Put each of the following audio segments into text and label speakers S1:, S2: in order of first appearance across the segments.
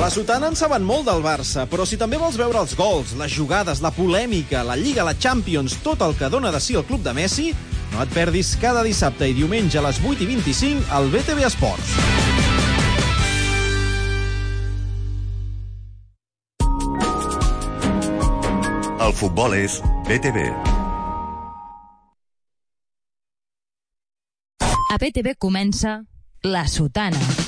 S1: la Sotana en saben molt del Barça, però si també vols veure els gols, les jugades, la polèmica, la Lliga, la Champions, tot el que dona de si el club de Messi, no et perdis cada dissabte i diumenge a les 8 i 25 al BTV Esports.
S2: El futbol és BTV.
S3: A BTV comença La Sotana.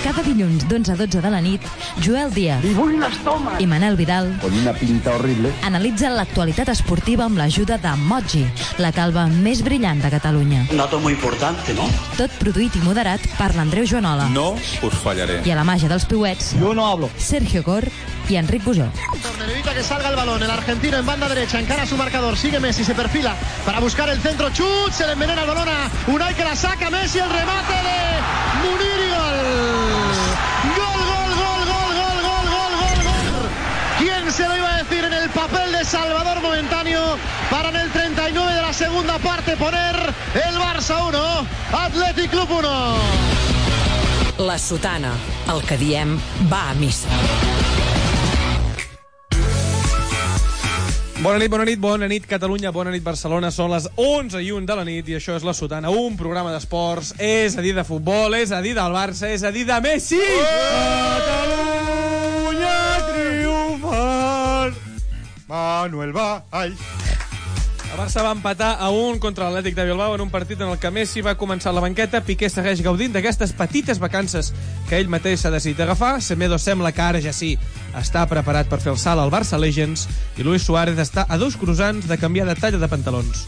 S3: Cada dilluns d'11 a 12 de la nit, Joel Díaz i Manel Vidal
S4: con una pinta horrible.
S3: analitzen l'actualitat esportiva amb l'ajuda de Moji, la calva més brillant de Catalunya.
S5: Un dato muy importante, ¿no?
S3: Tot produït i moderat per l'Andreu Joanola
S6: No us fallaré.
S3: i a la màgia dels piuets,
S7: Yo no hablo.
S3: Sergio Gor i Enric Bujó.
S8: Evita que salga el balón. El argentino en banda derecha encara a su marcador. Sigue Messi, se perfila para buscar el centro. Chut, se le envenena el balón a Unai que la saca. Messi, el remate de Munir y gol. Gol, gol, gol, gol, gol, gol, gol, gol, gol. ¿Quién se lo iba a decir en el papel de Salvador momentáneo para en el 39 de la segunda parte poner el Barça 1, Athletic Club 1?
S9: La sotana. El que diem va a missa.
S6: Bona nit, bona nit, bona nit, Catalunya, bona nit, Barcelona. Són les 11 i 1 de la nit i això és La Sotana, un programa d'esports, és a dir, de futbol, és a dir, del Barça, és a dir, de Messi!
S10: Oh!
S6: Catalunya triomfant!
S10: Manuel Valls.
S6: El Barça va empatar a un contra l'Atlètic de Bilbao en un partit en el que Messi va començar a la banqueta. Piqué segueix gaudint d'aquestes petites vacances que ell mateix s'ha decidit agafar. Semedo sembla que ara ja sí està preparat per fer el salt al Barça Legends i Luis Suárez està a dos croissants de canviar de talla de pantalons.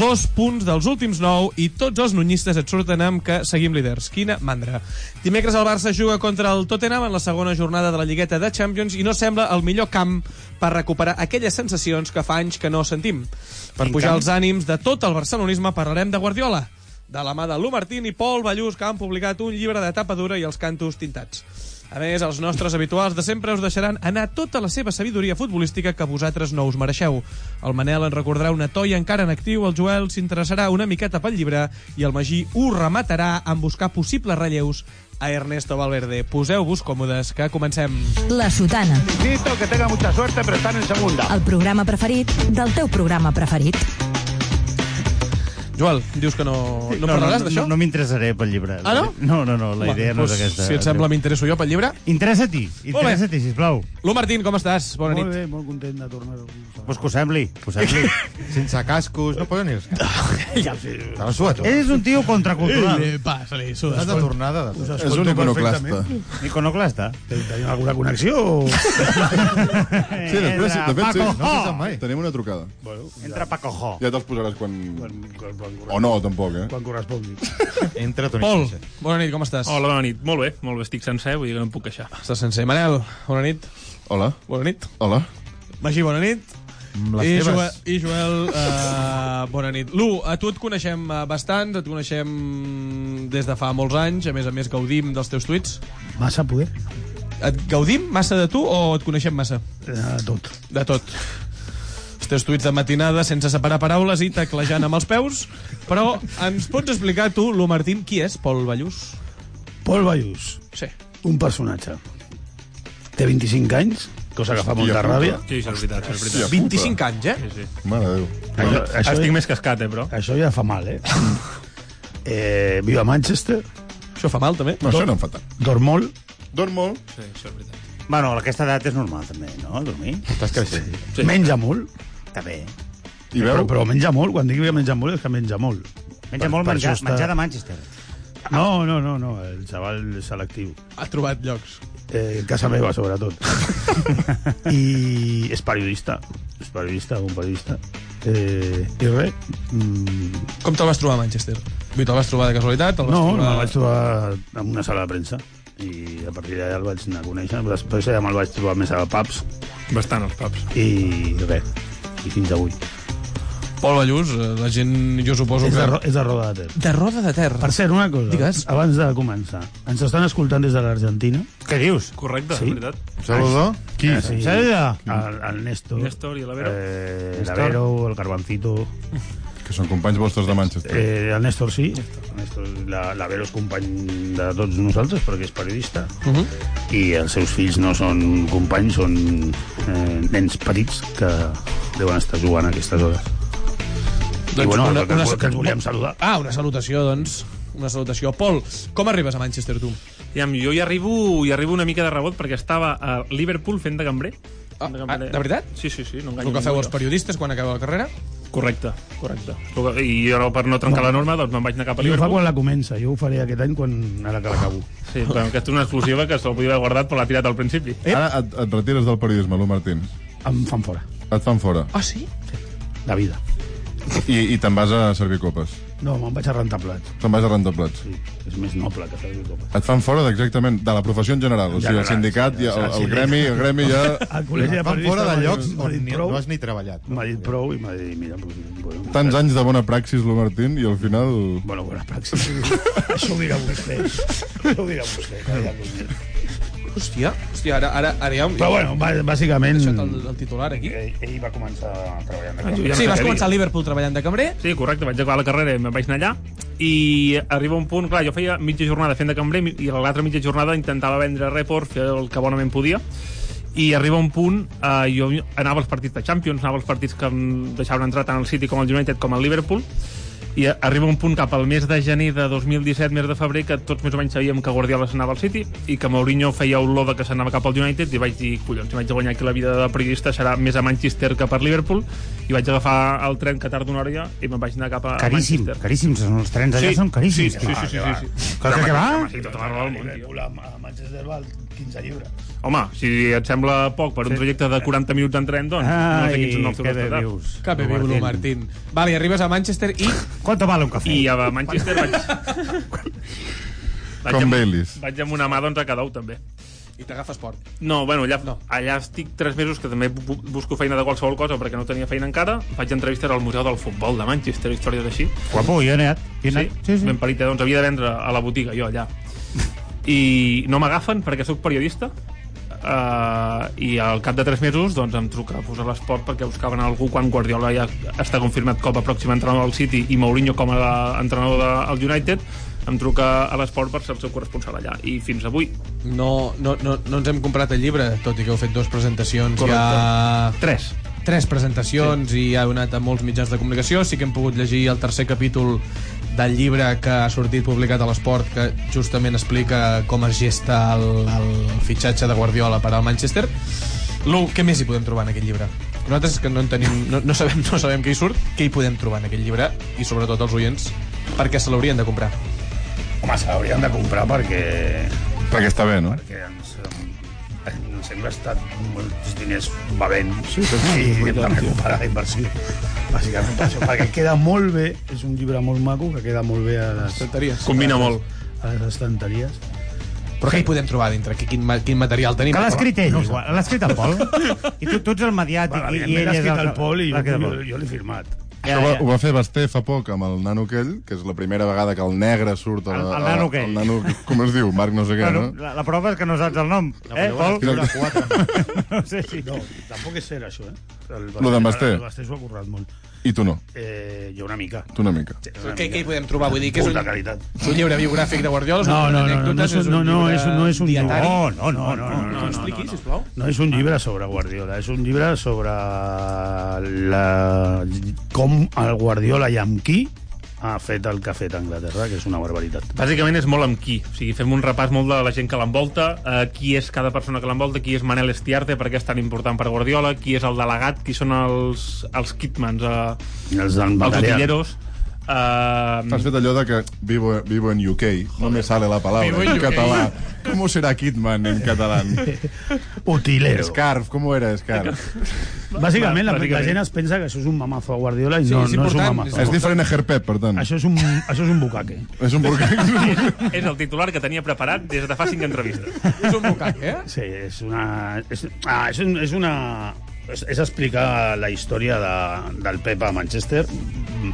S6: Dos punts dels últims nou i tots els nunyistes et surten amb que seguim líders. Quina mandra. Dimecres el Barça juga contra el Tottenham en la segona jornada de la Lligueta de Champions i no sembla el millor camp per recuperar aquelles sensacions que fa anys que no sentim. Per pujar els ànims de tot el barcelonisme parlarem de Guardiola, de la mà de Lu Martín i Pol Ballús, que han publicat un llibre de tapa dura i els cantos tintats. A més, els nostres habituals de sempre us deixaran anar tota la seva sabidoria futbolística que vosaltres no us mereixeu. El Manel en recordarà una toia encara en actiu, el Joel s'interessarà una miqueta pel llibre i el Magí ho rematarà en buscar possibles relleus a Ernesto Valverde. Poseu-vos còmodes, que comencem.
S3: La Sotana,
S4: Insisto que tenga mucha suerte, pero están en segunda.
S3: el programa preferit del teu programa preferit.
S6: Joel, dius que no, no, parlaràs
S10: no,
S6: d'això?
S10: No, no m'interessaré pel llibre.
S6: Ah, no?
S10: No, no, no, la
S6: Va,
S10: idea no és
S6: doncs,
S10: aquesta.
S6: Si et sembla, m'interesso jo pel llibre.
S10: Interessa-t'hi,
S6: Molt bé.
S10: interessa-t'hi, sisplau.
S6: Lu Martín, com estàs? Bona nit.
S7: Molt bé, molt content de tornar a
S10: Pues que ho sembli, que ho sembli.
S11: Sense cascos, no poden ir.
S7: Ja sé.
S11: Te la sua, tu.
S10: És un tio contracultural.
S7: passa, li
S11: Estàs de tornada. De...
S7: Us
S11: És un iconoclasta.
S10: Iconoclasta.
S7: Tenim alguna connexió? o-
S10: Sí,
S11: de fet, sí. No se sap
S10: Ho.
S11: mai.
S2: Tenim una trucada.
S10: Entra Paco Ho.
S2: Ja te'ls posaràs quan...
S7: Quan, quan, quan,
S2: O no, tampoc, eh?
S7: quan correspongui.
S11: Entra Toni
S6: Pol,
S11: Sánchez.
S6: bona nit, com estàs?
S8: Hola, bona nit. Molt bé, molt bé. Estic sencer, vull dir que no em puc queixar.
S6: Estàs sencer. Manel, bona nit.
S2: Hola,
S6: Bona nit.
S2: hola.
S6: Magí, bona nit.
S11: Amb les
S6: I,
S11: teves.
S6: Joel, i Joel uh, bona nit. Lu, a tu et coneixem eh, bastant, et coneixem des de fa molts anys, a més a més gaudim dels teus tuits.
S7: Massa poder.
S6: Et gaudim massa de tu o et coneixem massa?
S7: Eh, tot.
S6: De tot. Els teus tuits de matinada sense separar paraules i teclejant amb els peus. Però ens pots explicar tu, Lu Martín, qui és Pol Ballús?
S7: Pol Ballús,
S6: Sí.
S7: un personatge. Té 25 anys, cosa que fa molta
S2: puta.
S7: ràbia.
S8: Sí, és veritat, és veritat.
S2: Hòstia,
S6: 25 anys, eh?
S8: Sí, sí.
S2: Mare de Déu.
S7: Això, això,
S8: Estic més cascat, eh, però.
S7: això ja fa mal, eh? eh viu a Manchester,
S6: Això fa mal, també.
S2: No, això no em fa tant.
S7: dorm molt,
S2: Dorm molt.
S8: Sí, això és veritat.
S10: Bueno, a aquesta edat és normal, també, no? Dormir.
S11: Estàs creixent.
S7: sí. menja molt,
S10: També.
S2: I veu?
S7: però, però menja molt. Quan dic que menja molt, és que menja molt.
S10: Menja molt
S7: per eh,
S10: menjar,
S7: això està-
S10: menjar de Manchester.
S7: No, no, no, no, el xaval selectiu.
S6: Ha trobat llocs.
S7: Eh, casa meva, sobretot. I és periodista. És periodista, un periodista. Eh, I res. Mm,
S6: Com te'l vas trobar a Manchester? Vull dir, te'l vas trobar de casualitat? Te'l vas
S7: no,
S6: trobar...
S7: me'l vaig trobar en una sala de premsa i a partir d'allà el vaig anar a conèixer. Després ja me'l vaig trobar més a pubs
S8: Bastant, els paps.
S7: i res. I fins avui.
S6: Pol Ballús, eh, la gent, jo suposo
S7: És
S6: que...
S7: de, Ro- és de Roda de Ter.
S6: De Roda de Ter.
S7: Per cert, una cosa,
S6: Digues.
S7: abans de començar. Ens estan escoltant des de l'Argentina.
S10: Què dius?
S12: Correcte,
S7: Sí.
S12: sí. veritat.
S10: Saludo. Qui?
S7: Eh, Sí.
S10: Saludo.
S7: El, el Néstor.
S12: Néstor i l'Avero.
S7: Eh,
S10: Néstor.
S7: L'Avero, el Garbancito...
S2: Que són companys vostres de Manchester.
S7: Eh, el Néstor sí. El Néstor, la, la Vero és company de tots nosaltres perquè és periodista uh -huh. i els seus fills no són companys, són eh, nens petits que deuen estar jugant a aquestes hores. I bueno, una, que, que ens volíem saludar.
S6: Ah, una salutació, doncs. Una salutació. Pol, com arribes a Manchester, tu?
S12: Aviam, jo hi arribo, hi arribo una mica de rebot perquè estava a Liverpool fent de cambrer. Ah, de,
S6: ah, de veritat?
S12: Sí, sí, sí. No
S6: El
S12: enganyo
S6: que feu
S12: ningú,
S6: els periodistes quan acaba la carrera?
S12: jo. Correcte, correcte. I jo, per no trencar la norma, doncs me'n vaig anar cap a
S7: Jo ho fa
S12: Liverpool.
S7: quan la comença, jo ho faré aquest any quan ara que l'acabo.
S12: Sí, però aquesta és una exclusiva que se'l podia haver guardat, però l'ha tirat al principi.
S2: Eh? Ara et, et retires del periodisme, Lu Martín.
S7: Em fan fora,
S2: Et fan fora.
S6: Ah, sí?
S7: de vida.
S2: I, i te'n vas a servir copes.
S7: No, me'n vaig a rentar plats.
S2: Te'n vas a rentar plats.
S7: Sí, és més noble que fer-ho tot.
S2: Et fan fora d'exactament de la professió en general. O sigui, el
S7: General,
S2: sindicat,
S7: Ah, sí,
S2: i el,
S7: el
S2: el
S7: sindicat.
S2: gremi, el gremi ja...
S7: El col·legi de
S11: Van fora de
S7: m'ha dit-
S11: llocs
S7: m'ha
S11: on
S7: dit
S11: ni-
S7: prou,
S11: no has ni treballat.
S7: M'ha dit prou i m'ha dit, mira... Doncs, bueno,
S2: Tants anys de bona praxis, Lu Martín, i al final...
S7: Bueno, bona praxis. Això ho dirà vostè. Això ho dirà vostè.
S6: Hòstia, hòstia, ara, ara, ara ja...
S7: Però bueno, bà- bàsicament...
S6: He deixat el, el titular aquí. Ah,
S7: Ell, ell va començar treballant de
S12: Jo Ah, ja no
S6: Sí,
S12: sé
S6: vas
S12: què dir.
S6: començar a Liverpool treballant de cambrer.
S12: Sí, correcte, vaig acabar la carrera i me'n vaig anar allà i arriba un punt, clar, jo feia mitja jornada fent de cambrer i a l'altra mitja jornada intentava vendre report, fer el que bonament podia i arriba un punt, eh, jo anava als partits de Champions, anava als partits que em deixaven entrar tant al City com al United com al Liverpool i a- arriba un punt cap al mes de gener de 2017, mes de febrer, que tots més o menys sabíem que Guardiola s'anava al City i que Mourinho feia olor de que s'anava cap al United i vaig dir, collons, si vaig a guanyar aquí la vida de periodista serà més a Manchester que per Liverpool i vaig agafar el tren que tarda una hora ja, i me'n vaig anar cap a a
S10: Caríssim,
S12: Manchester.
S10: caríssims. són Els trens allà
S12: Sí,
S10: són
S12: sí,
S10: caríssims.
S12: sí,
S10: tio.
S12: sí, sí,
S10: Ah,
S12: sí, sí.
S10: Que, que, que va?
S12: Sí, tota la raó del món, tio.
S7: A Manchester val 15 lliures.
S12: Home, si et sembla poc per un trajecte de 40 minuts en tren, doncs no sé quins són els teus
S10: Ai, que bé
S12: estàndards.
S10: vius.
S6: Que bé, viu, Lu Martín. Vale, i arribes a Manchester i...
S10: Quanto vale un cafè?
S12: I a Manchester vaig... vaig
S2: Com
S12: amb,
S2: Baileys.
S12: Vaig amb una mà, doncs, a cada un, també.
S6: I t'agafes port.
S12: No, bueno, allà, no. allà estic tres mesos que també bu- busco feina de qualsevol cosa perquè no tenia feina encara. Faig entrevistes al Museu del Futbol de Manchester, històries així.
S10: Guapo, jo he anat. Jo he
S12: Sí,
S10: anat.
S12: sí, sí. ben parit, eh? doncs havia de vendre a la botiga, jo, allà. I no m'agafen perquè sóc periodista uh, i al cap de tres mesos doncs, em truca a posar l'esport perquè buscaven algú quan Guardiola ja està confirmat com a pròxim entrenador del City i Mourinho com a entrenador del United em truca a l'esport per ser el seu corresponsal allà i fins avui,
S6: No, no, no, no ens hem comprat el llibre, tot i que heu fet dues presentacions.
S12: Correcte.
S6: Ja...
S12: tres
S6: tres presentacions sí. i ha anat a molts mitjans de comunicació. Sí que hem pogut llegir el tercer capítol del llibre que ha sortit publicat a l'Esport que justament explica com es gesta el, el fitxatge de Guardiola per al Manchester. Lu, què més hi podem trobar en aquest llibre? Nosaltres que no en tenim, no, no, sabem, no sabem què hi surt, què hi podem trobar en aquest llibre i sobretot els oients per què se l'haurien de comprar.
S7: Home, se l'haurien de comprar perquè...
S2: Perquè està bé, no?
S7: perquè ens, eh, ens hem gastat molts diners bevent sí, i hem de recuperar la inversió. Bàsicament per això, perquè queda molt bé, és un llibre molt maco que queda molt bé a les,
S6: Estanteries.
S12: combina molt
S7: a les estanteries.
S6: Però què hi podem trobar dintre? Qui- Quin, ma- quin material tenim?
S10: Que l'ha escrit ell, igual. l'ha escrit el Pol. I tu, tu ets el mediàtic
S7: Va,
S10: i, i
S7: evidentment l'ha
S10: ell és
S7: escrit el Pol i
S10: l'ha
S7: jo,
S10: escrit el
S7: jo,
S10: Pol.
S7: jo l'he firmat.
S10: Ja,
S2: Això va,
S10: ja.
S2: ho va fer Basté fa poc amb el nano aquell, que és la primera vegada que el negre surt... A,
S10: El- el
S2: a-
S10: nano aquell.
S2: El nano, com es diu? Marc no sé què,
S10: Bueno,
S2: no?
S10: la, la prova és que no saps el nom. Eh, Pol? No sé si...
S7: No, tampoc és ser això, eh? El,
S2: Lo d'en Basté.
S7: El Basté s'ho ha currat molt.
S2: I tu no,
S7: Eh, jo una mica.
S2: tu una mica.
S7: Sí,
S6: Però
S7: una
S6: Què,
S7: mica.
S6: què hi podem trobar? Vull dir que és
S7: Puta
S6: un,
S7: qualitat.
S6: És un llibre biogràfic de Guardiola?
S7: No, no, no, no, no, és un- no, no, és un- no és un
S6: dietari.
S10: No, no, no, no, no,
S6: no,
S10: no.
S6: expliqui, no, no. sisplau.
S7: No és un llibre sobre Guardiola, és un llibre sobre la... com el Guardiola i amb qui ha fet el que ha fet a Anglaterra, que és una barbaritat.
S12: Bàsicament és molt amb qui. O sigui, fem un repàs molt de la gent que l'envolta, eh, qui és cada persona que l'envolta, qui és Manel Estiarte, per què és tan important per Guardiola, qui és el delegat, qui són els, els kitmans, eh,
S7: I Els del
S12: els
S7: material.
S12: utilleros... Eh,
S2: Has fet allò de que vivo, vivo en UK, no me sale la palabra
S6: Vivo en
S2: en
S6: UK.
S2: català. ¿Cómo será Kidman en català?
S7: Utilero.
S2: Scarf, ¿cómo era Scarf?
S7: Bàsicament, la, la
S12: Bàsicament.
S7: gent es pensa que això és un mamazo a Guardiola i
S6: Sí,
S7: no, no
S6: és
S7: és un
S6: important,
S7: mamazo.
S2: És diferent a Herpep, per tant.
S7: Això és un, això és un bucaque.
S2: És un burquer.
S12: és el titular que tenia preparat des de fa cinc entrevistes.
S6: És un bucac, eh?
S7: Sí, és una... És, ah, és, un, és una... és, és explicar la història de, del Pep a Manchester,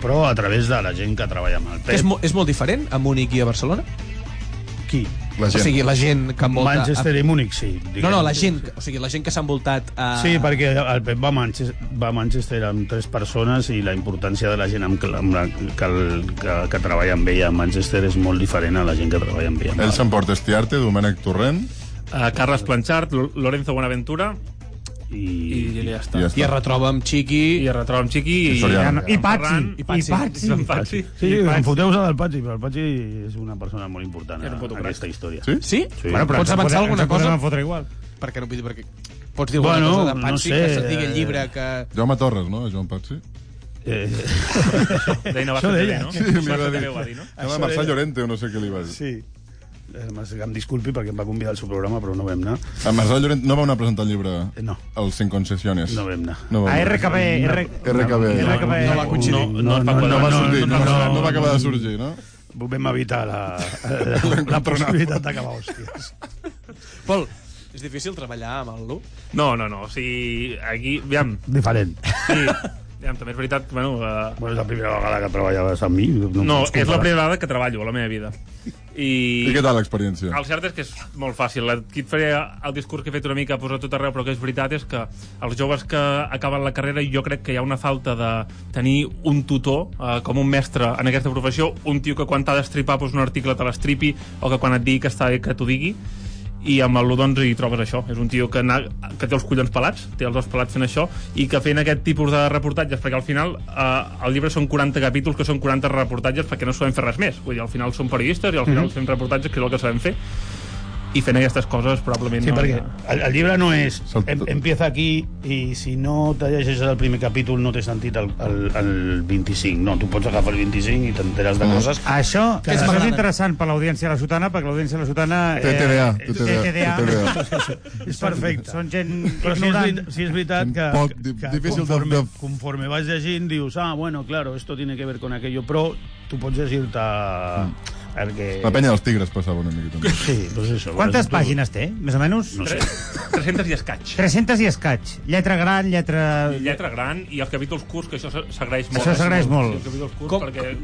S7: però a través de la gent que treballa amb el Pep.
S6: Que és, mo és molt diferent a Múnich i a Barcelona?
S7: Qui?
S6: La gent. O sigui, la gent que envolta...
S7: Manchester i Múnich, sí.
S6: No, no, la gent, o sigui, la gent que s'ha envoltat... A...
S7: Sí, perquè el Pep va a, Manchester, va a Manchester amb tres persones i la importància de la gent amb, amb la, que, el, que, que treballa amb ella a Manchester és molt diferent a la gent que treballa amb ella.
S2: Ell s'emporta Estiarte, Domènec Torrent...
S12: Uh, Carles Planchard, Lo- Lorenzo Buenaventura...
S7: I,
S12: I, ja està.
S2: I ja està. I es
S12: retroba amb Chiqui... I es retroba amb Chiqui...
S2: I Soriano.
S10: I Patxi.
S12: Ferran,
S10: I Patxi.
S12: I Patxi. I Patxi.
S7: Sí,
S12: I
S7: em
S12: Patxi.
S7: foteu del Patxi, però el Patxi és una persona molt important a, a aquesta història.
S2: Sí?
S6: Sí?
S7: sí.
S10: Bueno, però
S6: Pots avançar alguna cosa?
S10: fotre igual.
S6: Perquè no vull dir, perquè... Pots dir alguna
S7: Bueno,
S6: cosa de
S7: no
S6: Patsy,
S7: sé,
S6: que se't digui el
S7: eh,
S6: llibre que...
S2: Jaume Torres, no? Joan Patxi.
S7: Eh,
S12: Deina
S7: Això
S12: Bacete,
S7: deia.
S12: no?
S2: Sí, li va
S12: Bacete
S2: dir.
S12: ho va dir, no?
S2: Això Marçal era... Llorente o no sé què li va dir. Sí.
S7: sí. Además, que em disculpi perquè em va convidar al seu programa, però no vam anar.
S2: A Marçal Llorente no va anar a presentar el llibre
S7: Eh, No,
S2: Els Cinc Concessiones.
S7: no vam anar.
S2: No va
S10: A
S2: anar.
S10: RKB. R...
S2: RKB.
S10: RKB.
S12: No va coincidir. No es va
S2: No,
S12: quadrar.
S2: va sortir, no,
S12: no,
S2: no,
S12: no.
S2: no, va acabar de sorgir, no?
S7: Vam evitar la, la, la possibilitat d'acabar hòsties.
S6: Pol, és difícil treballar amb algú?
S12: No, no, no. O sigui, aquí... Aviam,
S7: Diferent.
S12: sí. Aviam, també és veritat que, bueno... Uh,
S7: Bueno, és la primera vegada que treballaves amb mi.
S12: no,
S7: pots
S12: és la
S7: comparar.
S12: primera vegada que treballo a la meva vida. I...
S2: I què tal l'experiència?
S12: El cert és que és molt fàcil. Aquí et faré el discurs que he fet una mica posar tot arreu, però que és veritat és que els joves que acaben la carrera jo crec que hi ha una falta de tenir un tutor eh, com un mestre en aquesta professió, un tio que quan t'ha d'estripar pues, un article te l'estripi o que quan et digui que està bé que t'ho digui i amb el Ludons hi trobes això. És un tio que, na, que té els collons pelats, té els dos pelats fent això, i que fent aquest tipus de reportatges, perquè al final eh, el llibre són 40 capítols, que són 40 reportatges, perquè no sabem fer res més. Vull dir, al final som periodistes i al final mm -hmm. fem reportatges, que és el que sabem fer, i fent aquestes coses probablement
S7: Sí,
S12: no... eh,
S7: perquè el, el llibre no és...
S2: Sol-
S7: Em, empieza aquí i si no te llegeixes el primer capítol no t'he sentit el, el, el 25. No, tu pots agafar el 25 i t'enteres
S2: Ah.
S7: de coses.
S10: Això,
S6: és
S10: això és
S6: m'agrada?
S10: interessant per l'audiència de la Sotana, perquè l'audiència de la Sotana... eh,
S2: Té TDA,
S7: Eh,
S2: té
S10: TDA.
S2: TDA. té TDA.
S10: És perfecte. Són gent
S7: Però si és,
S10: ignorant.
S7: veri- si és veritat que,
S2: Poc di-
S7: que
S2: difícil de-
S7: conforme,
S2: de-
S7: conforme vas llegint dius, ah, bueno, claro, esto tiene que ver con aquello, però tu pots llegir-te... Perquè...
S2: Mm. La penya dels tigres passava una mica, també.
S7: Sí, doncs això.
S10: Quantes
S7: tu-
S10: pàgines té, Eh, més o menys?
S7: No sé.
S12: 300 i escaig.
S10: 300 i escaig. Lletra gran, lletra...
S12: Lletra gran i els capítols curts, que eh, això s- s'agraeix molt.
S10: Això s'agraeix molt.
S12: Els capítols curts
S6: Com-
S12: com... perquè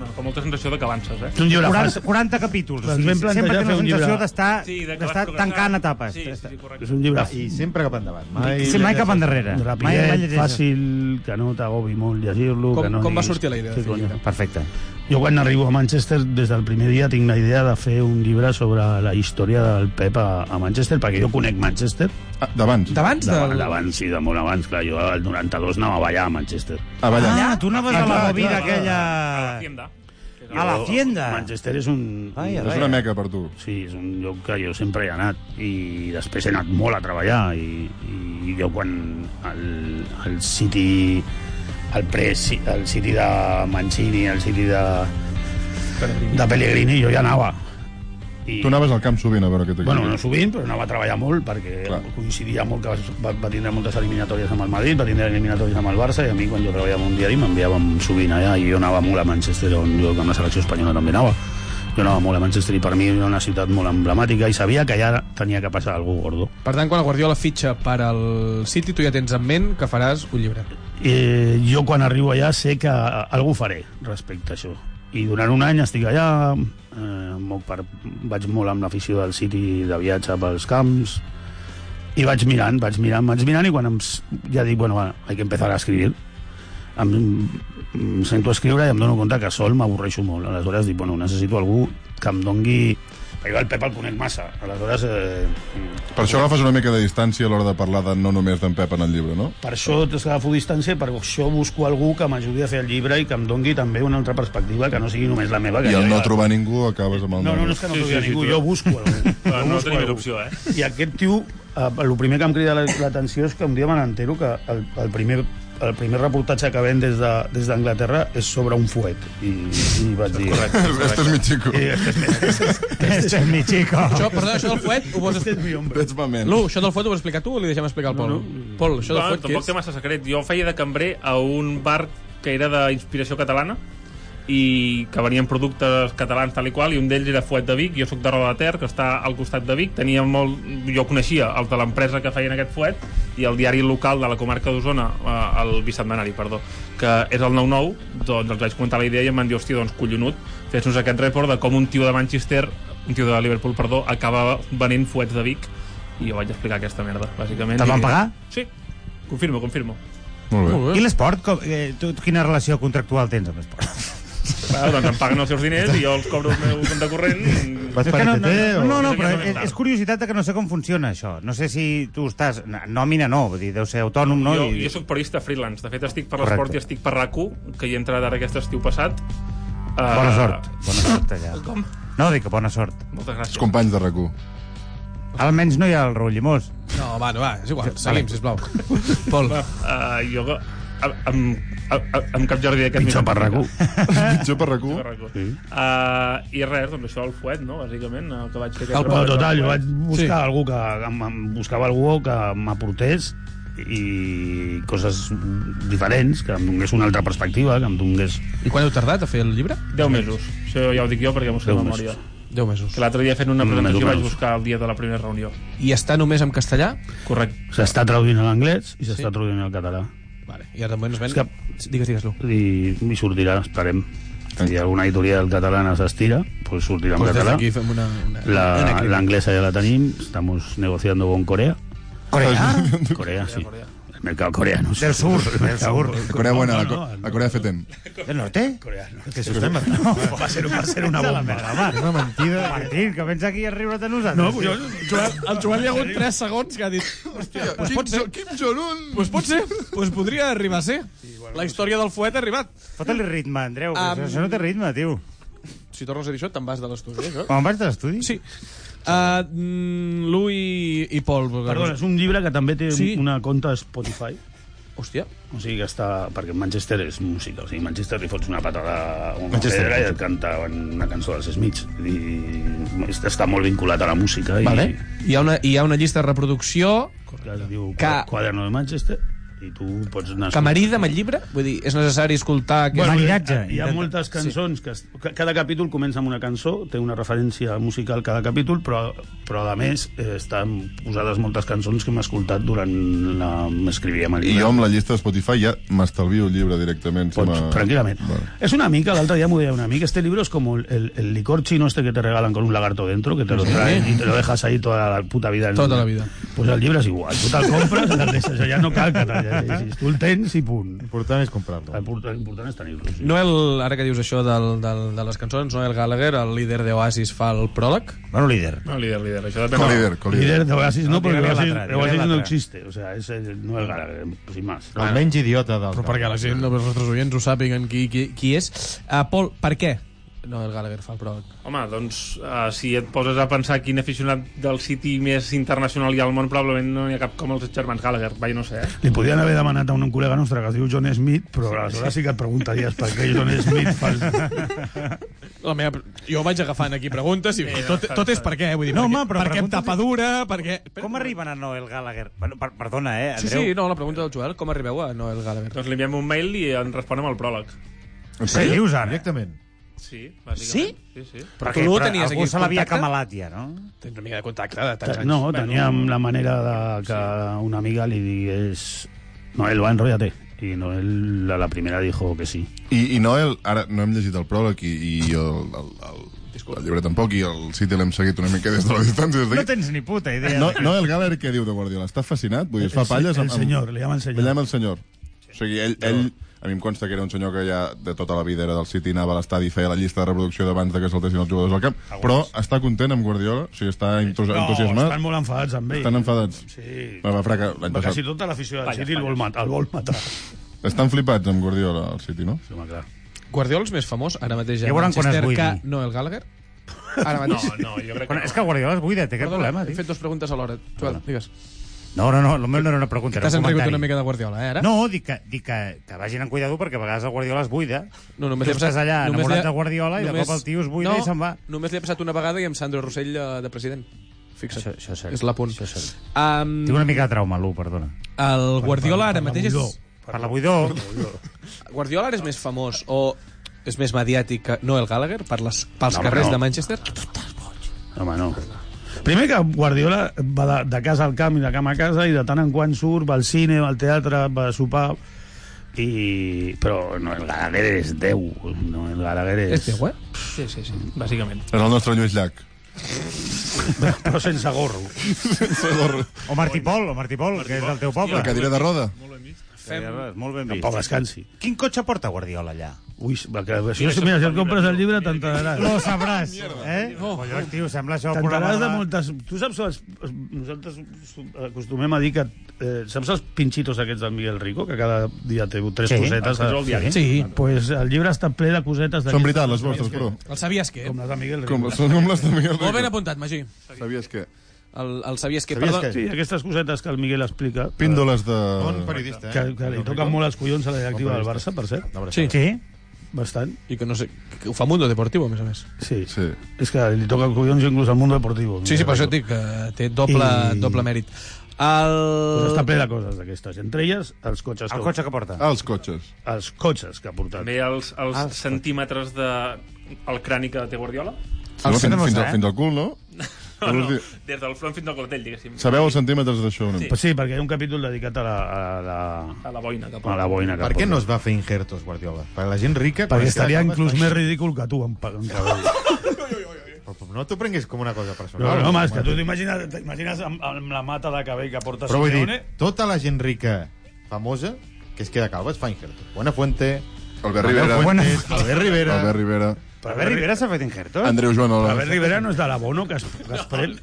S12: no, fa molta sensació de que avances, eh?
S7: És un llibre
S10: 40,
S7: fàcil.
S10: 40 capítols.
S7: Ens vam plantejar
S10: sempre té
S7: Doncs fer
S10: la
S7: un
S10: sensació
S7: llibre-
S10: d'estar
S12: de que
S10: d'estar
S12: vas progressant.
S10: tancant etapes. Ah,
S12: Sí, sí, sí, correcte.
S7: És un llibre
S13: I sempre cap endavant. Mai...
S10: Sí, mai cap endarrere. Mai, mai
S7: Rapidet,
S10: llegeixes.
S7: fàcil, que no t'agobi molt llegir-lo.
S6: Com-
S7: que no
S6: com va
S7: diguis-
S6: sortir la idea de
S7: Sí,
S6: fer el
S7: coño.
S6: llibre?
S10: Perfecte.
S7: Jo quan arribo a Manchester, des del primer dia tinc la idea de fer un llibre sobre la història del Pep a, a Manchester, perquè jo conec Manchester
S2: Ah, D'abans.
S6: D'abans
S7: d'abans,
S6: del...
S7: d'abans, sí, de molt abans, clar, jo al 92 anava a ballar a Manchester.
S2: A ballar.
S10: Ah, tu anaves a la
S2: clar,
S10: bovina
S2: clar.
S12: A la
S10: aquella...
S12: tienda.
S10: A la tienda.
S7: Manchester és un...
S13: Vaya,
S2: És una meca per tu.
S7: Sí, és un lloc que jo sempre hi he anat i després he anat molt a treballar i, i jo quan el, el City el, pre, el City de Mancini el City de, de Pellegrini jo ja anava i,
S2: Tu anaves al camp sovint a veure aquest equip.
S7: bueno, no sovint, però anava a treballar molt perquè
S2: Clar.
S7: coincidia molt que va, va tindre moltes eliminatòries amb el Madrid, va tindre eliminatòries amb el Barça i a mi quan jo treballava en un diari m'enviàvem sovint allà i jo anava molt a Manchester on jo amb la selecció espanyola també anava jo anava molt a Manchester i per mi era una ciutat molt emblemàtica i sabia que allà tenia que passar algú gordo
S6: Per tant, quan el Guardiola fitxa per al City, tu ja tens en ment que faràs un llibre.
S7: eh, jo quan arribo allà sé que algú faré respecte a això i durant un any estic allà eh, em moc per, vaig molt amb l'afició del City de viatge pels camps i vaig mirant, vaig mirant, vaig mirant i quan em, s- ja dic, bueno, va, hay que empezar a escribir em, em sento a escriure i em dono compte que sol m'avorreixo molt aleshores dic, bueno, necessito algú que em dongui perquè jo el Pep el conec massa aleshores eh,
S2: Per això agafes una mica de distància a l'hora de parlar de no només d'en Pep en el llibre, no?
S7: Per això t'agafo distància, per això busco algú que m'ajudi a fer el llibre i que em dongui també una altra perspectiva, que no sigui només la meva. Que
S2: I
S7: ja-
S2: al no trobar ningú acabes amb el
S7: No, no, no és
S2: nom.
S7: que no
S12: Sí,
S7: sí,
S12: sí,
S7: sí, Ah,
S12: sí,
S7: ningú,
S12: tu- Ah,
S7: jo busco algú. Jo
S12: no
S7: busco
S12: tenim
S7: algú.
S12: opció, eh?
S7: I aquest tio, eh, el primer que em crida la- l'atenció és que un dia me n'entero que el, el primer el primer reportatge que ven des de- des d'Anglaterra de, és sobre un fuet. I, i vaig dir...
S2: Este es mi chico.
S7: I aquest és meu.
S10: Este es mi chico.
S6: Això, perdó, això del fuet ho vols
S7: Este és
S6: explicar...
S7: mi hombre.
S2: That's my man.
S6: Lu, això del fuet ho vols explicar tu o li deixem explicar al Pol? Pol, això del
S12: Bueno,
S6: fuet què
S12: tampoc té
S6: és?
S12: massa secret. Jo feia de cambrer a un bar que era d'inspiració catalana i que venien productes catalans tal i qual, i un d'ells era Fuet de Vic, jo sóc de Roda de Ter, que està al costat de Vic, tenia molt... jo coneixia els de l'empresa que feien aquest fuet, i el diari local de la comarca d'Osona, eh, el bisetmanari, perdó, que és el 9-9, doncs els vaig comentar la idea i em van dir, hòstia, doncs collonut, fes-nos aquest report de com un tio de Manchester, un tio de Liverpool, perdó, acaba venent fuets de Vic, i jo vaig explicar aquesta merda, bàsicament.
S10: Te'l van pagar?
S12: Sí. Confirmo, confirmo.
S2: Molt
S12: bé.
S10: I l'esport? com- Eh, tu, quina relació contractual tens amb l'esport?
S12: Bueno, doncs em paguen els seus diners i jo els cobro el meu compte corrent.
S10: És que no, no, no, no, no,
S12: Aquesta
S10: però
S12: no
S10: és, és curiositat de que no sé com funciona això. No sé si tu estàs... n- Nòmina no, vull dir, deu ser autònom, no?
S12: jo,
S10: I-
S12: jo sóc periodista freelance. De fet, estic per
S10: Correcte.
S12: l'esport i estic per rac que hi he entrat ara aquest estiu passat. Uh,
S10: Bona sort. Bona sort allà.
S12: Com?
S10: No, dic que bona sort.
S12: Moltes gràcies.
S2: Els companys de rac
S10: Almenys no hi ha el Rollimós.
S6: No, va, no, va, és igual.
S10: Vale.
S6: Seguim, sisplau. Pol.
S12: Uh, jo a- amb, a- amb cap jardí d'aquest...
S2: Pitjor
S12: mira.
S2: per RAC1.
S7: eh?
S2: Pitjor per RAC1.
S12: Pitjor per RAC1. Uh, I res, doncs això, el fuet, no? Bàsicament, el que vaig fer...
S7: El no,
S6: eh.
S7: total, jo vaig buscar sí.
S12: Sí.
S7: algú que... Em, em buscava algú que m'aportés i coses diferents, que em donés una altra perspectiva, que em donés...
S6: I quan heu tardat a fer el llibre?
S12: 10 mesos. Això ja ho dic jo perquè m'ho sé de
S7: Deu
S12: memòria.
S7: mesos.
S6: 10 mesos.
S12: Que l'altre dia fent una
S7: Mm,
S12: presentació
S7: deu
S12: vaig
S7: mesos.
S12: buscar el dia de la primera reunió.
S6: I està només en castellà?
S12: Correcte.
S7: S'està traduint a l'anglès i s'està sí. traduint al català.
S6: Vale. I ara de moment es ven...
S7: És que-
S6: Digues, digues-lo.
S7: I, I sortirà, esperem. Si alguna editorial catalana s'estira, pues sortirà en
S6: Pues Doncs des
S7: català.
S6: d'aquí fem una... una... una
S7: La,
S6: crítica.
S7: la anglesa ya la tenim, estamos negociando con Corea.
S10: ¿Corea?
S7: Corea, sí. El mercado coreano.
S10: Del sur, del sur.
S2: La Corea buena, la, co- la Corea fetén.
S10: ¿Del norte?
S7: Coreano.
S10: Que s'ho estem... No, va ser, va ser una bomba. Marc.
S11: Una mentida.
S10: Martín, que vens aquí a riure't de nosaltres.
S11: No,
S10: tio.
S11: jo-
S6: Joan, el Joan hi ha hagut 3 segons que ha dit... Hòstia, doncs pot ser.
S2: Kim Jong-un!
S6: Doncs pot ser. Doncs podria arribar a ser. La història del fuet ha arribat.
S10: Fota-li ritme, Andreu, que
S6: Am-
S10: això- això no té ritme, tio.
S6: Si tornes a dir això, te'n vas de l'estudi, eh, jo?
S10: Quan vas de l'estudi?
S6: Sí. Uh, mm, Lu i, i Pol.
S7: Perdona, és un llibre que també té sí.
S6: Sí.
S7: una conta a Spotify.
S6: Hòstia.
S7: O sigui que està... Perquè Manchester és música. O sigui, Manchester li fots una patada a una
S2: Manchester,
S7: Manchester, pedra i et canta una cançó dels Smiths. I està molt vinculat a la música.
S6: Vale.
S7: I,
S6: Hi ha, una, hi ha una llista de reproducció
S7: que es diu
S6: Que-
S7: Ca... Quaderno de Manchester i tu pots anar...
S6: que marida amb el llibre. Vull dir, és necessari escoltar... Que...
S10: Bueno,
S7: Hi
S10: Maridatge,
S7: ha, hi ha
S10: intenta.
S7: moltes cançons sí. que, es- que cada capítol comença amb una cançó, té una referència musical cada capítol, però, però a més eh, estan posades moltes cançons que hem escoltat durant la... m'escrivia
S2: I
S7: Maria.
S2: jo amb la llista de Spotify ja m'estalvio el llibre directament. si
S7: Pots,
S2: me-
S7: tranquilament.
S2: Vale.
S7: Es una mica, el otro día muy de una mica, este libro es como el- el, el licor chino este que te regalan con un lagarto dentro, que te lo traen y te lo dejas ahí toda la puta vida. en-
S6: Toda la vida.
S7: Pues el libro es igual, tú te el compras, el deixes allà, no cal que te'l llegeixis. Tu el tens i punt.
S11: L'important és comprar-lo.
S7: L'important és tenir-lo. Sí.
S6: Noel, ara que dius això del, del, de les cançons, Noel Gallagher, el líder d'Oasis, fa el pròleg.
S10: Bueno, líder.
S12: No, líder, líder. Això depèn...
S2: Co-líder, co-líder.
S7: Líder de Oasis no,
S10: No,
S7: porque
S10: dígale
S7: Oasis,
S10: la otra,
S7: Oasis
S10: dígale la
S7: no
S10: otra.
S7: existe. O sea, es el, no el Gallagher, sin más.
S11: El menys idiota del...
S6: Però perquè la gent, els nostres oients, ho sàpiguen qui, qui, qui és. Uh, Pol, per què Noel Gallagher fa el pròleg?
S12: Home, doncs, uh, si et poses a pensar quin aficionat del City més internacional hi ha al món, probablement no n'hi ha cap com els germans Gallagher. Vai, no sé, eh?
S7: Li podien haver demanat a un col·lega nostre que es diu John Smith, però aleshores sí que et preguntaries per què John Smith fas...
S6: La meva... Jo vaig agafant aquí preguntes i tot,
S12: està,
S6: tot és
S12: està.
S6: per què, vull dir,
S10: No,
S6: per,
S10: home, però
S6: per què amb
S10: preguntes-
S6: tapadura, per què...
S10: Com arriben a Noel Gallagher? Bueno, per, perdona, eh,
S6: Sí,
S10: Andreu.
S6: sí, no, la pregunta del Joel, com arribeu a Noel Gallagher?
S12: Doncs li enviem un mail i en respon amb el pròleg.
S2: En
S10: Què
S2: sèrio?
S10: dius ara?
S11: Directament.
S12: Sí, bàsicament. Sí? Sí, sí.
S6: Però tu no tenies
S10: algú
S6: aquí
S10: se l'havia
S6: contacte?
S10: camalat ja, no?
S6: Tens una mica de contacte de tants anys.
S7: No, teníem la manera de que una amiga li digués Noel, va, enrotllate. I Noel a la primera dijo que sí.
S2: I, I Noel, ara no hem llegit el pròleg i, i el, el, el, el llibre tampoc, i el City l'hem seguit una mica des de la distància. Des
S10: No
S2: d'aquí.
S10: tens ni puta idea.
S2: no, Noel Gallagher què diu de Guardiola? Està fascinat? Vull dir, es fa palles
S7: El senyor, li llaman
S2: Li
S7: senyor.
S2: llama el senyor. O sigui, ell, ell, a mi em consta que era un senyor que ja de tota la vida era del City, anava a l'estadi i feia la llista de reproducció d'abans de que saltessin els jugadors al camp, però està content amb Guardiola, o sigui, està entus-
S7: Eh, No,
S2: entusiasmat,
S7: estan molt enfadats amb ell.
S2: estan enfadats.
S7: Sí.
S2: Va, va, fraca, l'any
S7: Va, Quasi
S2: passat.
S7: tota l'afició del City el vol matar. El vol matar. Sí,
S2: Estan flipats amb Guardiola, el City, no?
S7: home, clar.
S6: Guardiola és més famós ara mateix
S10: Ja
S6: a
S10: veuran quan es
S6: Manchester
S10: buidi.
S6: que Noel Gallagher? Ara
S12: No,
S6: mateix?
S12: no, jo crec que
S10: Bueno,
S12: no.
S10: és que Guardiola es buida, té aquest problema,
S6: he
S10: tio.
S6: fet dues preguntes alhora. Joel, digues.
S10: No, no, no, el meu no era una pregunta, era
S6: T'has
S10: un
S6: enrigut
S10: comentari.
S6: una mica de Guardiola, eh, ara?
S10: No, dic que, dic que, que vagin amb cuidado perquè a vegades el Guardiola es buida.
S6: No, només
S10: tu
S6: li ha
S10: estàs
S6: passat-
S10: allà
S6: només
S10: enamorat
S6: li ha-
S10: de Guardiola i de
S6: només-
S10: cop el tio es buida
S6: no,
S10: i se'n va.
S6: Només li ha passat una vegada i amb Sandro Rossell eh, de president. Fixa't.
S10: Això- això és cert.
S6: és la punt.
S10: Això és cert.
S6: Um,
S10: Tinc una mica de trauma, l'1, perdona.
S6: el Guardiola ara
S7: Per la
S6: mateix és...
S7: buidor.
S10: Per la buidor,
S6: Guardiola ara és més famós o és més mediàtic que Noel Gallagher per les, pels
S7: No, home,
S6: no, carrers
S7: no.
S6: no. de Manchester?
S7: Home, no. Primer que Guardiola va de, de casa al camp i de camp a casa i de tant en quant surt, va al cine, va al teatre, va a sopar... I... Però no, el Gallagher és Déu. No, el Gallagher és...
S6: És Déu, eh? Sí, sí, sí, bàsicament.
S2: És el nostre Lluís Llach.
S7: Però sense gorro.
S2: sense gorro.
S10: O Martí Pol, o Martí Pol, que és del teu poble.
S2: La cadira de roda.
S10: Fem... Molt ben vist.
S7: Tampoc descansi.
S10: Quin cotxe porta Guardiola allà?
S7: Ui, va, que, si, mira, si et compres el llibre t'entraràs.
S10: Lo sabràs, eh? Oh, Collons, tio, sembla això... un programa
S7: T'entraràs de moltes... Tu saps, els, els- nosaltres acostumem a dir que... Eh, saps els pinxitos aquests del Miguel Rico, que cada dia té tres
S10: Sí,
S7: cosetes?
S6: Ah,
S10: els que treu el diari.
S7: Sí. Pues el llibre està ple de cosetes. De
S2: Són veritat, les vostres, però.
S6: El sabies què? Com
S7: les de Miguel
S2: Com les- són com les de Miguel
S6: Molt ben
S2: Rico.
S6: apuntat, Magí.
S2: Sabies què?
S6: El, el sabies què,
S7: Sabies
S6: perdó.
S7: que... Sí, aquestes cosetes que el Miguel explica.
S2: Píndoles de...
S7: Bon periodista, eh? Que, que li toquen molt els collons a la directiva del Barça, per cert.
S6: Sí.
S7: Bastant.
S6: I que no sé, que ho fa Mundo Deportivo, a més a més.
S7: Sí. sí. És que li toquen collons inclús al Mundo Deportivo.
S6: Sí, sí, per això et dic que té doble,
S7: I-
S6: I... doble mèrit. El...
S7: Pues està ple de coses d'aquestes. Entre elles, els cotxes.
S10: El cotxe que porta.
S2: Ah, els cotxes.
S7: Els cotxes que ha portat.
S12: També els, els ah, centímetres de el crani que té Guardiola.
S2: Sí, fins, fins, al,
S10: eh?
S2: fins al cul, no?
S12: No, no, des del front fins al clatell, diguéssim.
S2: Sabeu els centímetres d'això?
S12: Sí.
S7: Pues sí, perquè hi ha un capítol dedicat a la... A la,
S12: A la boina.
S7: a la boina que
S11: Per què
S7: porta.
S11: no es va fer injertos, Guardiola? Per la gent rica... quan
S7: Perquè
S11: es queda
S7: estaria
S11: jove,
S7: inclús
S11: fa-
S7: més ridícul que tu, en, pa- en cabell.
S11: Però No t'ho prenguis com una cosa personal.
S7: No, no, home, és que tu t'imagines t'imagines amb, amb la mata de cabell que porta
S11: Però vull dir,
S7: Simeone?
S11: tota la gent rica famosa que es queda calva es fa injertos. Buenafuente...
S2: Albert Rivera.
S11: Fuentes, Albert Rivera.
S2: Albert Rivera.
S11: Però Albert Rivera s'ha fet injertos?
S2: Andreu Joan
S7: Però
S2: Ola.
S7: Albert Rivera no és de l'abono que es, que es pren.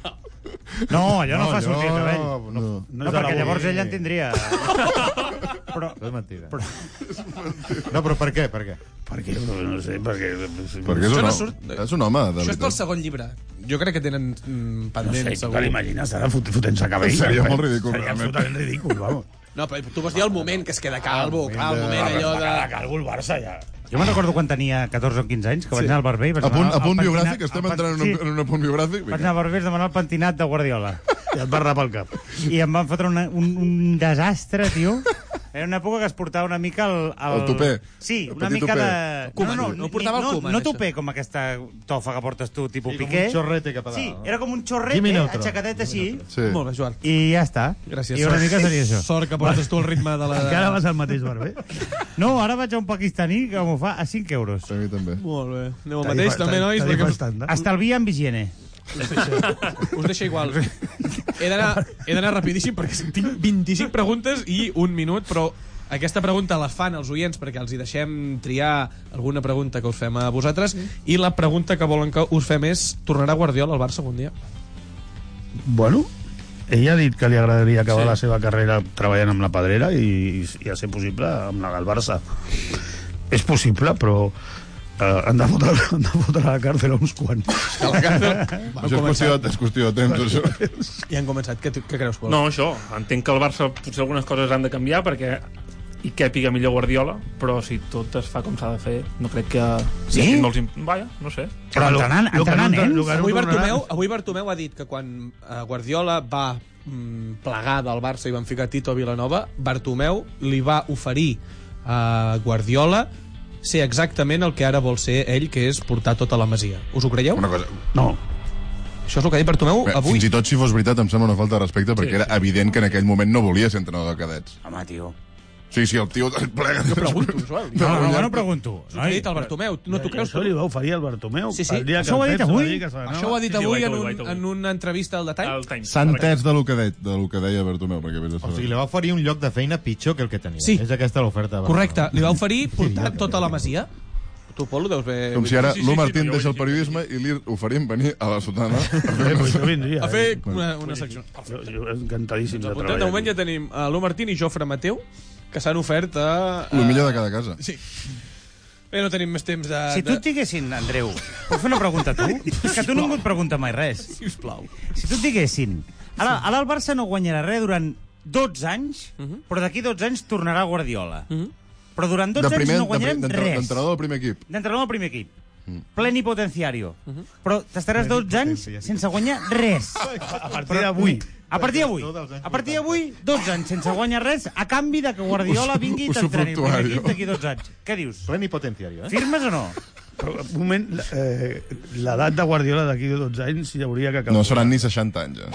S10: No, allò no,
S11: No,
S10: fa
S11: allò-
S10: sortir el cabell.
S11: no.
S10: no,
S7: No,
S10: perquè
S7: no,
S10: llavors
S7: no.
S10: ella en tindria... però,
S11: Això és mentida. Però... No, però per què? Per què?
S7: Perquè, no sé, perquè... eh,
S2: Perquè és
S6: Això
S2: un,
S6: no
S2: home-
S6: surt-
S2: és un home, de
S6: Això és pel
S2: veritat.
S6: segon llibre. Jo crec que tenen mm, pendent,
S7: No sé,
S6: segur.
S7: te l'imagines ara fot- fotent-se cabell?
S2: Seria molt ridícul,
S7: Seria
S2: realment.
S7: absolutament ridícul, vamos. Ah,
S6: No, però tu vas dir el moment que es queda calvo, clar, el moment allò de...
S7: Cada calvo el Barça ja.
S10: Jo me'n recordo quan tenia 14 o 15 anys, que vaig anar al barber... i vaig
S2: A punt, a
S10: demanar el
S2: punt
S10: pentinat-
S2: biogràfic, estem
S10: el pen-
S2: entrant en
S10: sí,
S2: un, en un punt biogràfic.
S10: Vaig anar
S2: Vinga.
S10: al barber i vaig demanar el pentinat de Guardiola.
S7: I et va rapar el cap.
S10: I em van fotre una, un, un desastre, tio. Era una època que es portava una mica el...
S2: El tupé.
S10: Sí,
S2: El
S10: una
S2: petit
S10: mica
S2: tupé.
S10: de...
S6: Cuman, no
S10: ni-
S6: portava el
S10: no,
S6: Cuman, eh?
S10: No
S6: això.
S10: tupé com aquesta tofa que portes tu, tipus
S11: Sí, com
S10: Piqué.
S11: un xorrete cap a dalt,
S10: Sí,
S11: no?
S10: era com un
S11: Jimmy
S10: xorrete,
S11: Neutron.
S10: aixecadet així.
S2: Sí.
S6: Molt bé, Joan.
S10: I ja està.
S6: Gràcies.
S10: I una
S6: sort-
S10: mica seria això.
S6: Sort que portes tu el ritme de la...
S7: Encara vas al mateix barber.
S10: No, ara vaig a un pakistaní que m'ho fa a 5 euros.
S2: A mi també.
S6: Molt bé. Aneu al mateix, també, nois, perquè us,
S7: Bastant,
S10: Estalvia amb higiene.
S6: us deixa igual. He d'anar he d'anar rapidíssim perquè tinc 25 preguntes i un minut, però aquesta pregunta la fan els oients perquè els hi deixem triar alguna pregunta que us fem a vosaltres i la pregunta que volen que us fem és tornarà Guardiola al Barça algun dia?
S7: Bueno, ella ha dit que li agradaria acabar
S6: Sí.
S7: sí. la seva carrera treballant amb la Pedrera i, i a ser possible amb la del Barça. És possible, però eh, han, de fotre, han de fotre a la càrcel a uns quants.
S6: A la càrcel
S2: Això és qüestió, de- és qüestió de temps, això.
S6: i han començat. Què, tu- què creus, Pol?
S12: No, això. Entenc que el Barça potser algunes coses han de canviar perquè i que pica millor Guardiola, però si tot es fa com s'ha de fer, no crec que...
S10: Sí?
S12: hi hagi Molts... imp- Vaja, no sé.
S10: Però entrenant,
S7: lo que no
S10: entrenant
S7: entra-
S10: nens.
S7: lo que no
S6: Avui
S7: tornarà-
S6: Bartomeu, avui Bartomeu ha dit que quan eh, Guardiola va mm, plegar del Barça i van ficar Tito a Vilanova, Bartomeu li va oferir eh, a Guardiola ser exactament el que ara vol ser ell, que és portar tota la masia. Us ho creieu?
S2: Una cosa,
S7: No,
S6: Això és el que ha dit Bartomeu
S2: Bé,
S6: avui.
S2: Fins i tot si fos veritat em sembla una falta de respecte perquè era evident que en aquell moment no volia ser entrenador de cadets.
S10: Home, tio.
S2: Sí, sí, el tio... Plega... Jo pregunto,
S6: Joel.
S10: No, no, no, no pregunto.
S6: Us ho ha dit el Bartomeu. No t'ho creus?
S7: Això li va oferir al Bartomeu.
S6: Sí, sí.
S7: El dia
S10: Això ho ha
S7: que el
S10: dit
S7: Pep
S10: avui?
S7: va dir que se n'anava.
S6: Això ho ha dit
S12: Sí, sí, ho ha
S6: avui en,
S12: dit avui, ho ha
S6: un,
S12: dit avui.
S6: en una entrevista al detall.
S12: El Times.
S2: S'ha entès de lo que, de, de lo que deia Bartomeu, perquè vés
S11: O
S2: a saber.
S11: sigui, li va oferir un lloc de feina pitjor que el que tenia.
S6: Sí.
S11: És aquesta l'oferta.
S6: Correcte, li va oferir portar tota la masia. Tu, Pol, ho deus bé...
S2: Com si ara
S12: Sí, sí,
S2: l'U
S12: sí,
S2: Martín
S12: jo ho
S2: deixa el
S12: dic.
S2: periodisme i li oferim venir a la sotana. a fer
S7: Eh,
S2: una-
S7: pues jo vindria,
S6: A
S7: eh?
S6: fer una, una secció.
S7: Jo, jo encantadíssim de treballar.
S6: Apuntem, Doncs de moment ja tenim a l'U Martín i Jofre Mateu, que s'han ofert a...
S2: Lo millor de cada casa.
S6: Sí. Bé, no tenim més temps de...
S10: Si tu et diguessin, Andreu, puc fer una pregunta a tu? És que tu ningú et pregunta mai res.
S6: Sisplau.
S10: Si tu et diguessin, ara, ara el Barça no guanyarà res durant 12 anys,
S6: Mhm.
S10: però d'aquí 12 anys tornarà Guardiola. Però durant 12 anys no guanyarem
S2: d'entre-
S10: res.
S2: D'entrenador del primer equip. Mm.
S10: D'entrenador al primer equip.
S6: Mhm.
S10: Plenipotenciario. Però t'estaràs 12 anys sense guanyar res.
S7: A partir d'avui.
S10: A partir d'avui, a partir d'avui, 12 anys sense guanyar res, a canvi de que Guardiola
S7: Usu-
S10: vingui i t'entreni el primer
S7: usufructuari.
S10: equip d'aquí 12 anys. Què dius?
S11: Plenipotenciari, eh?
S10: Firmes o no?
S7: Però, un moment, eh, l'edat de Guardiola d'aquí 12 anys ja hauria que acabar.
S2: No seran ni 60 anys, ja.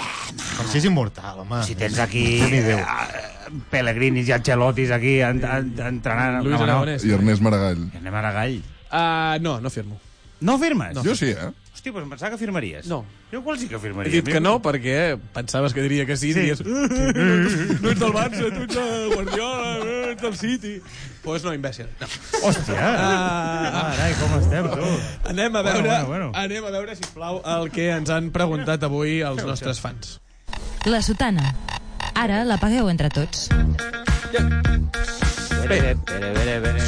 S11: Però si és immortal, home.
S10: Si tens aquí
S2: Déu n'hi
S10: eh,
S2: Déu.
S10: eh, Pellegrinis i Ancelottis aquí en, en, entrenant...
S6: Luis
S10: No, no.
S6: Aragonés.
S2: I Ernest Maragall.
S10: Anem a Aragall.
S6: Uh, no, no firmo.
S10: No firmes?
S2: Jo sí, eh?
S10: Hosti, però em pensava que firmaries.
S6: No.
S10: Jo qual sí que
S14: He
S10: firmaria.
S14: dit que no perquè pensaves que diria que sí, sí. diries... "Eh, No ets del Barça, tu ets del Guardiola, eh, ets del City...
S6: Pues no, imbècil. No.
S10: Hòstia!
S6: Ah,
S10: Carai, com estem, tu?
S6: Anem a
S10: Bueno,
S6: veure, bueno,
S10: bueno,
S6: bueno,
S10: bueno.
S6: anem a veure si plau el que ens han preguntat avui els nostres fans.
S3: La sotana. Ara la pagueu entre tots.
S6: Bé,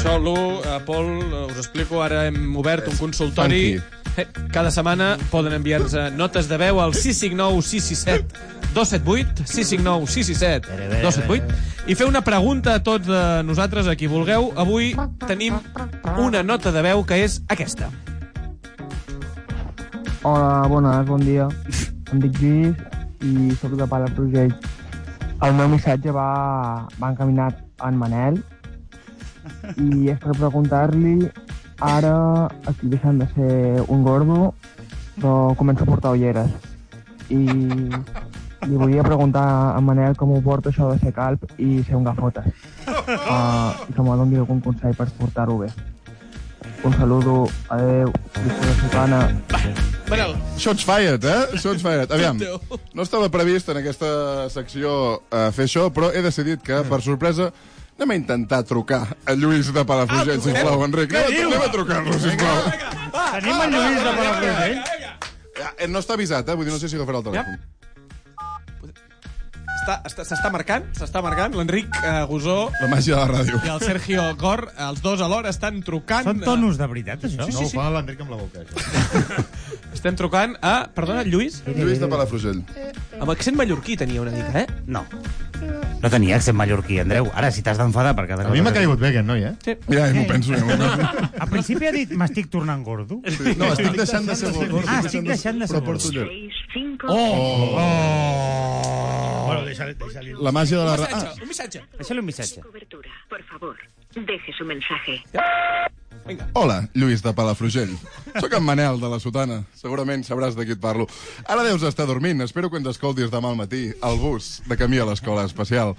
S6: solo, eh, Pol, eh, us explico, ara hem obert un consultori. Eh, Cada setmana poden enviar-nos eh, notes de veu al 659 667 278, 659 667 278, i fer una pregunta a tots eh, nosaltres, a qui vulgueu. Avui tenim una nota de veu que és aquesta.
S15: Hola, bones, bon dia. Em dic Lluís i sóc de Palafrugell. El meu missatge va, va encaminat en Manel i és per preguntar-li ara estic deixant de ser un gordo però començo a portar ulleres i li volia preguntar a en Manel com ho porta això de ser calp i ser un gafotes uh, i que me doni algun consell per portar-ho bé un saludo, adeu, visca la sotana
S6: Manel.
S2: Shots fired, eh? Shots fired. Aviam, no estava previst en aquesta secció eh, fer això, però he decidit que, per sorpresa, anem a intentar trucar a Lluís de Palafrugell, ah, sisplau, Enric.
S7: Què
S2: Anem a,
S7: diu?
S2: anem a trucar-lo, sisplau.
S7: Tenim en Lluís de Palafrugell.
S2: Ja, eh, no està avisat, eh? Vull dir, no sé si agafarà el telèfon.
S6: Està- està- S'està marcant, s'està marcant l'Enric eh, Gusó
S2: La màgia de la ràdio.
S6: i el Sergio Cor, els dos alhora estan trucant... eh.
S10: Són tonos de veritat, això?
S6: Sí, sí, sí.
S11: No ho fa l'Enric amb la boca, això.
S6: Estem trucant a... Perdona, Lluís?
S2: Lluís de Palafrugell.
S6: Amb accent mallorquí tenia una mica, eh?
S10: No. No tenia accent mallorquí, Andreu. Ara, si t'has d'enfadar per cada
S11: A mi m'ha caigut bé aquest noi, eh?
S6: Sí.
S2: Ja, ja m'ho penso, ja m'ho penso.
S10: Al principi ha dit, m'estic tornant gordo.
S2: No, estic deixant de ser gordo.
S10: Ah, estic deixant de ser gordo.
S2: Oh! oh.
S7: Bueno, deixa-li, deixa-li.
S2: La màgia de la Ah.
S7: Un
S2: ràdio.
S7: missatge,
S6: un missatge.
S10: Deixa-li un missatge.
S9: Por favor, deje su mensaje.
S2: Hola, Lluís de Palafrugell. Sóc en Manel, de la Sotana. Segurament sabràs de qui et parlo. Ara deus estar dormint. Espero que ens escoltis demà al matí, al bus, de camí a l'escola especial.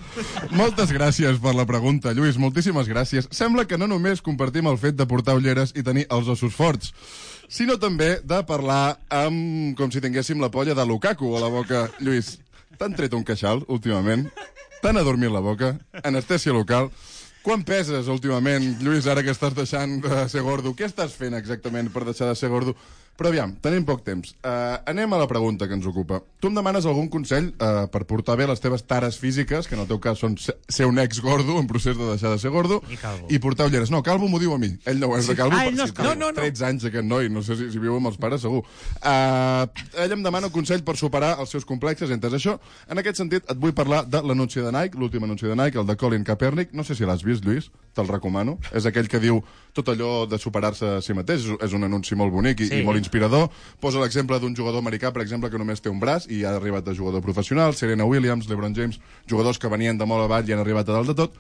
S2: Moltes gràcies per la pregunta, Lluís. Moltíssimes gràcies. Sembla que no només compartim el fet de portar ulleres i tenir els ossos forts, sinó també de parlar amb... com si tinguéssim la polla de Lukaku a la boca. Lluís, t'han tret un queixal últimament? T'han adormit la boca? Anestèsia local? Quan peses últimament, Lluís, ara que estàs deixant de ser gordo? Què estàs fent exactament per deixar de ser gordo? Però aviam, tenim poc temps. Uh, anem a la pregunta que ens ocupa. Tu em demanes algun consell uh, per portar bé les teves tares físiques, que en el teu cas són se- ser un ex-gordo, en procés de deixar de ser gordo, i, i portar ulleres. No, Calvo m'ho diu a mi. Ell no ho és de Calvo.
S10: Ah,
S2: per
S10: ell no
S2: si
S10: és Calvo.
S2: té 13 anys, aquest noi. No sé si, si viu amb els pares, segur. Uh, ell em demana consell per superar els seus complexes. Entes això? En aquest sentit, et vull parlar de l'anunci de Nike, l'últim anunci de Nike, el de Colin Kaepernick. No sé si l'has vist, Lluís, te'l recomano. És aquell que diu tot allò de superar-se a si mateix. És- És un anunci molt bonic i,
S4: Sí.
S2: sí. i molt inspirador. Posa l'exemple d'un jugador americà, per exemple, que només té un braç i ha arribat a jugador professional. Serena Williams, LeBron James, jugadors que venien de molt avall i han arribat a dalt de tot.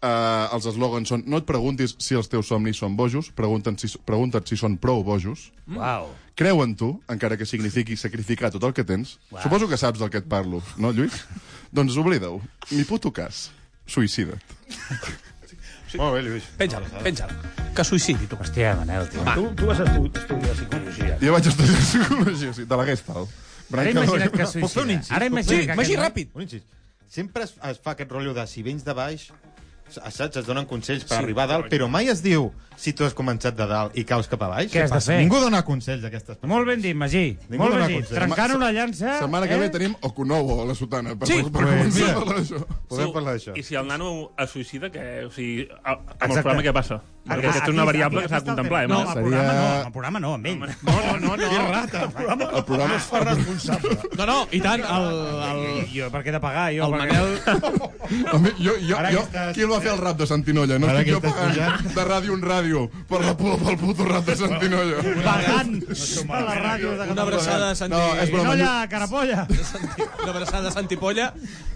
S2: Eh, els eslògans són no et preguntis si els teus somnis són bojos, pregunta't si, pregunta't si són prou bojos.
S10: Ah. Uau.
S2: Creu en tu, encara que signifiqui sacrificar tot el que tens.
S10: Uau.
S2: Suposo que saps del que et parlo, no, Lluís? doncs oblida-ho. Mi puto cas. Suïcida't.
S11: Molt bé, Lluís.
S6: Penja'l, penja'l. Que suïcidi, tu.
S10: Hòstia, Manel, tio.
S6: Va.
S7: Tu, tu vas estu- estudiar psicologia.
S2: Jo vaig estudiar psicologia, sí, de la Gestalt.
S7: Ara imagina't que
S11: Puc fer un
S7: suïcida.
S11: incís?
S7: Ara
S11: Puc
S7: imagina't que
S11: fer
S7: aquest noi-
S11: Un incís. Sempre es, es fa aquest rotllo de si vens de baix, saps? Es donen consells per sí, arribar a dalt, però mai es diu si tu has començat de dalt i caus cap a baix.
S10: Què has de
S11: passa?
S10: fer?
S11: Ningú dona consells a aquestes persones.
S10: Molt ben dit, Magí.
S11: Ningú
S10: Molt
S11: dona
S10: ben dit.
S11: consells.
S10: Trencant una llança...
S2: Setmana que
S10: eh?
S2: ve tenim Okunobo a la sotana. Per,
S10: Sí,
S2: per, per
S10: pues,
S2: començar
S10: mira.
S2: a parlar d'això.
S11: Podem parlar d'això.
S12: I si el nano es suïcida, que, o sigui, a- amb el
S10: Exacte. Ah,
S12: programa què passa? Perquè aquesta és una variable que s'ha de contemplar, eh,
S10: No,
S12: Mas?
S10: el programa no, el programa no, amb ell. No, no, no. Que rata. El programa, el programa es fa responsable.
S6: No, no, i tant, el... el...
S10: Jo, per què he de pagar, jo?
S6: El
S2: A mi, jo, jo,
S10: Ara
S2: jo,
S10: que estàs-
S2: qui el va fer el rap de Santinolla? No
S10: Ara
S2: estic
S10: que
S2: jo
S10: estàs
S2: pagant
S10: pujant.
S2: de ràdio en ràdio per la, pu- pel puto rap de Santinolla.
S10: Pagant a la ràdio de Catalunya.
S6: Una abraçada de Santi...
S2: No, és broma.
S10: Nolla, Ah, carapolla.
S6: De Santi... Una abraçada de Santi Polla.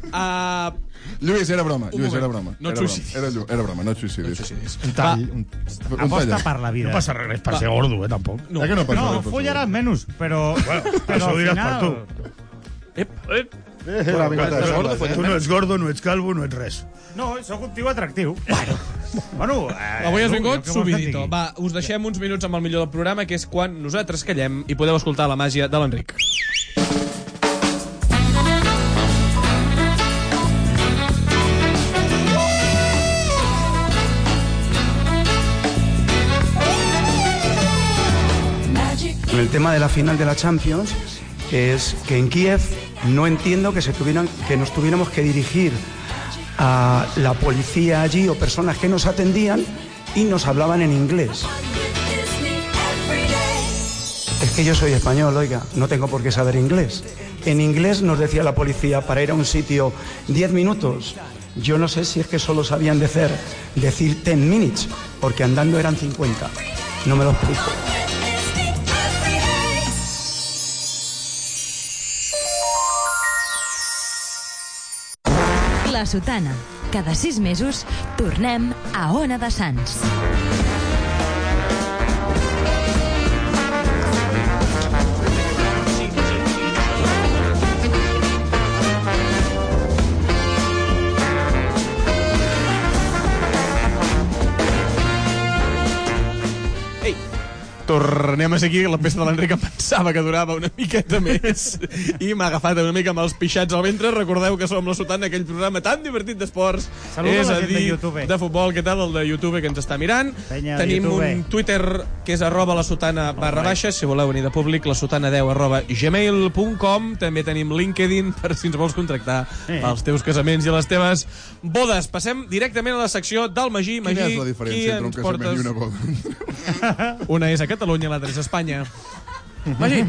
S6: Uh,
S2: Lluís, era broma,
S6: Un
S2: Lluís, era
S6: moment.
S2: broma.
S6: No et
S2: era broma.
S6: suïcidis.
S2: Era, llu- era broma, no et suïcidis. No et suïcidis.
S7: Un tall, un-
S2: Va. Un
S7: Aposta
S2: tall.
S7: per la vida. No passa res per
S2: Va.
S7: ser gordo, eh, tampoc.
S2: No. Eh que no passa
S10: No,
S2: res, per
S10: follaràs menys, però...
S7: Bueno,
S10: però
S7: això ho
S10: al
S7: diràs per
S10: final...
S7: tu.
S10: eh, una mica de gordo,
S7: tu no ets gordo, no ets calvo, no ets res.
S10: No, sóc un tio atractiu. Bueno, bueno eh,
S6: Avui has
S10: no,
S6: vingut
S10: què vols que et
S6: subidito.
S10: digui?
S6: Va, us deixem uns minuts amb el millor del programa, que és quan nosaltres callem i podeu escoltar la màgia de l'Enric.
S4: En el tema de la final de la Champions es que en Kiev no entiendo que, se tuvieran, que nos tuviéramos que dirigir a la policía allí o personas que nos atendían y nos hablaban en inglés. Es que yo soy español, oiga, no tengo por qué saber inglés. En inglés nos decía la policía para ir a un sitio 10 minutos. Yo no sé si es que solo sabían decir, decir 10 minutes, porque andando eran 50. No me lo explico.
S3: La Sotana. Cada sis mesos tornem a Ona de Sants.
S14: Tornem a seguir, la pesta de l'Enric em pensava que durava una miqueta més i m'ha agafat una mica amb els pixats al ventre. Recordeu que som la sotana, aquell programa tan divertit d'esports.
S10: Saluda
S6: és
S10: la
S6: a
S10: gent de
S6: dir,
S10: YouTube.
S6: de futbol, què tal el de YouTube que ens està mirant?
S10: Penya de
S6: Tenim
S10: YouTube.
S6: un Twitter que és arroba la sotana barra baixa, si voleu venir de públic, la sotana 10 arroba gmail.com. També tenim LinkedIn per si ens vols contractar
S14: Eh.
S6: pels teus casaments i les teves bodes. Passem directament a la secció del Magí.
S2: Quina
S6: Magí,
S2: és la
S6: qui
S2: diferència entre un
S6: ens
S2: casament
S6: portes?
S2: i una boda?
S6: Una és a Catalunya, l'altra és a Espanya.
S13: Mhm.
S14: Magí,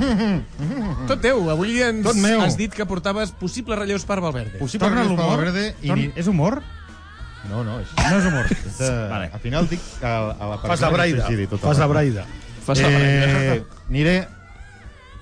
S14: tot teu. Avui ens...
S6: Tot Has dit que portaves possibles relleus per Valverde.
S11: Possible Torna relleus per l'humor. Valverde i Torn- ni-
S10: És humor?
S11: No, no, és... no és humor. És de... vale. Al final dic a, a la persona...
S7: Fas la braida.
S11: que s'hi tot
S7: Fas
S11: el
S7: la
S11: rato.
S7: braida. Fas la
S11: Eh,
S7: braida.
S11: aniré...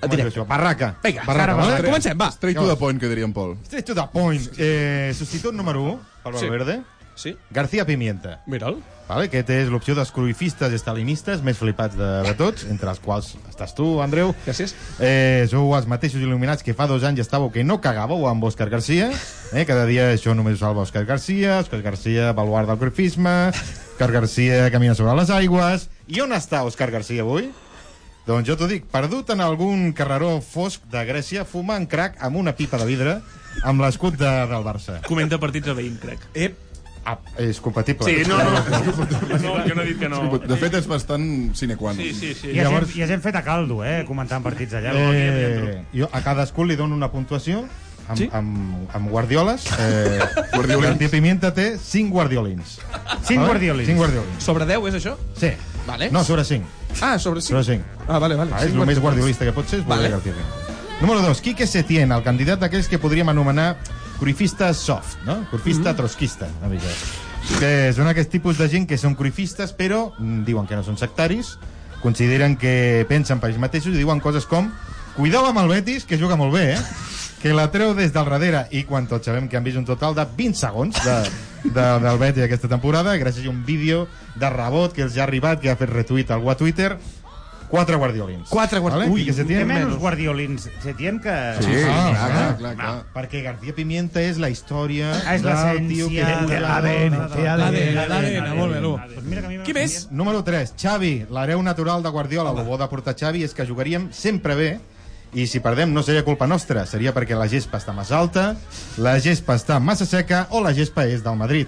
S11: Directe. Barraca.
S6: Vinga,
S11: Barraca,
S6: ara,
S11: vale?
S6: va, comencem, va.
S2: Straight to the point, que diria en Pol.
S11: Straight to the point. Eh, substitut número 1, per
S6: Sí.
S11: Valverde.
S6: Sí.
S11: García Pimienta.
S6: Mira'l.
S11: Vale, aquest és l'opció dels cruifistes i estalinistes més flipats de, de tots, entre els quals estàs tu, Andreu.
S6: Gràcies.
S11: Eh, sou els mateixos il·luminats que fa dos anys estàveu que no cagàveu amb Òscar Garcia. Eh, cada dia això només ho salva Òscar Garcia, Òscar Garcia, baluard del cruifisme, Òscar Garcia camina sobre les aigües... I on està Òscar Garcia avui? Doncs jo t'ho dic, perdut en algun carreró fosc de Grècia, fumant crack amb una pipa de vidre, amb l'escut de, del Barça.
S12: Comenta partits a veïn, crec.
S6: Ep.
S11: Ah, és compatible.
S12: Sí, no, no. no jo no he dit que no.
S2: De fet, és bastant sine qua non.
S12: Sí, sí, sí.
S10: I, Llavors... gent, I gent fet a caldo, eh, comentant partits allà.
S11: Eh, jo a cadascú li dono una puntuació amb, sí? amb, amb guardioles. Eh,
S2: Guardiolins.
S11: Martí Pimienta té 5 guardiolins.
S10: Cinc
S11: Vale?
S10: guardiolins.
S11: Ah, Cinc guardiolins.
S6: Sobre 10 és això?
S11: Sí.
S6: Vale.
S11: No, sobre 5.
S6: Ah, sobre 5.
S11: Sobre 5.
S6: Ah, vale, vale.
S11: Ah, és el més guardiolista que pot ser, és
S6: Vale.
S11: vale. García Pimienta. Número 2, Quique Setién, el candidat d'aquells que podríem anomenar cruifista soft, no? Cruifista mm -hmm. trotskista, una mica. Que són aquest tipus de gent que són cruifistes, però mm, diuen que no són sectaris, consideren que pensen per ells mateixos i diuen coses com cuideu amb el Betis, que juga molt bé, eh? que la treu des del darrere i quan tots sabem que han vist un total de 20 segons de, de, del Betis aquesta temporada gràcies a un vídeo de rebot que els ha arribat, que ha fet retuit algú a Twitter quatre guardiolins.
S6: Quatre
S11: Vale?
S6: guardiolins.
S11: I que se
S10: Té
S11: tienen
S10: menys guardiolins. Se tien que...
S2: Sí, sí, clar, clar, clar, clar.
S11: Perquè García Pimienta és la història...
S10: Ah, és
S11: del
S10: l'essència
S11: tio que
S10: de
S11: cuida la
S10: l'ADN,
S11: dona, de
S10: té
S11: la-
S10: ADN,
S11: de la-
S10: ADN,
S11: de la-
S10: molt bé, Lu.
S11: Pues
S10: mira que a mi
S6: Qui més?
S11: Número 3, Xavi, l'hereu natural de Guardiola. El bo de portar Xavi és que jugaríem sempre bé i si perdem no seria culpa nostra, seria perquè la gespa està massa alta, la gespa està massa seca o la gespa és del Madrid.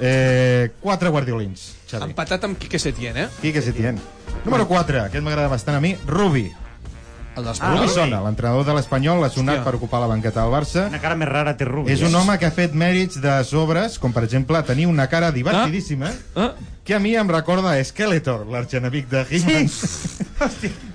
S11: Eh, quatre guardiolins, Xavi.
S6: Empatat amb Quique Setién, eh?
S11: Quique Setién. Número 4, aquest m'agrada bastant a mi, Rubi. El
S10: d'Espanyol?
S11: Rubi Sona, l'entrenador de l'Espanyol, ha sonat
S10: Ah, Hòstia.
S11: per ocupar la banqueta del Barça.
S10: Una cara més rara té Rubi.
S11: És un
S6: Ah,
S11: home que ha fet mèrits de sobres, com per exemple tenir una cara
S10: Ah.
S11: divertidíssima, eh?
S6: ah.
S11: que a mi em recorda a Skeletor, l'argenemic de Hitman.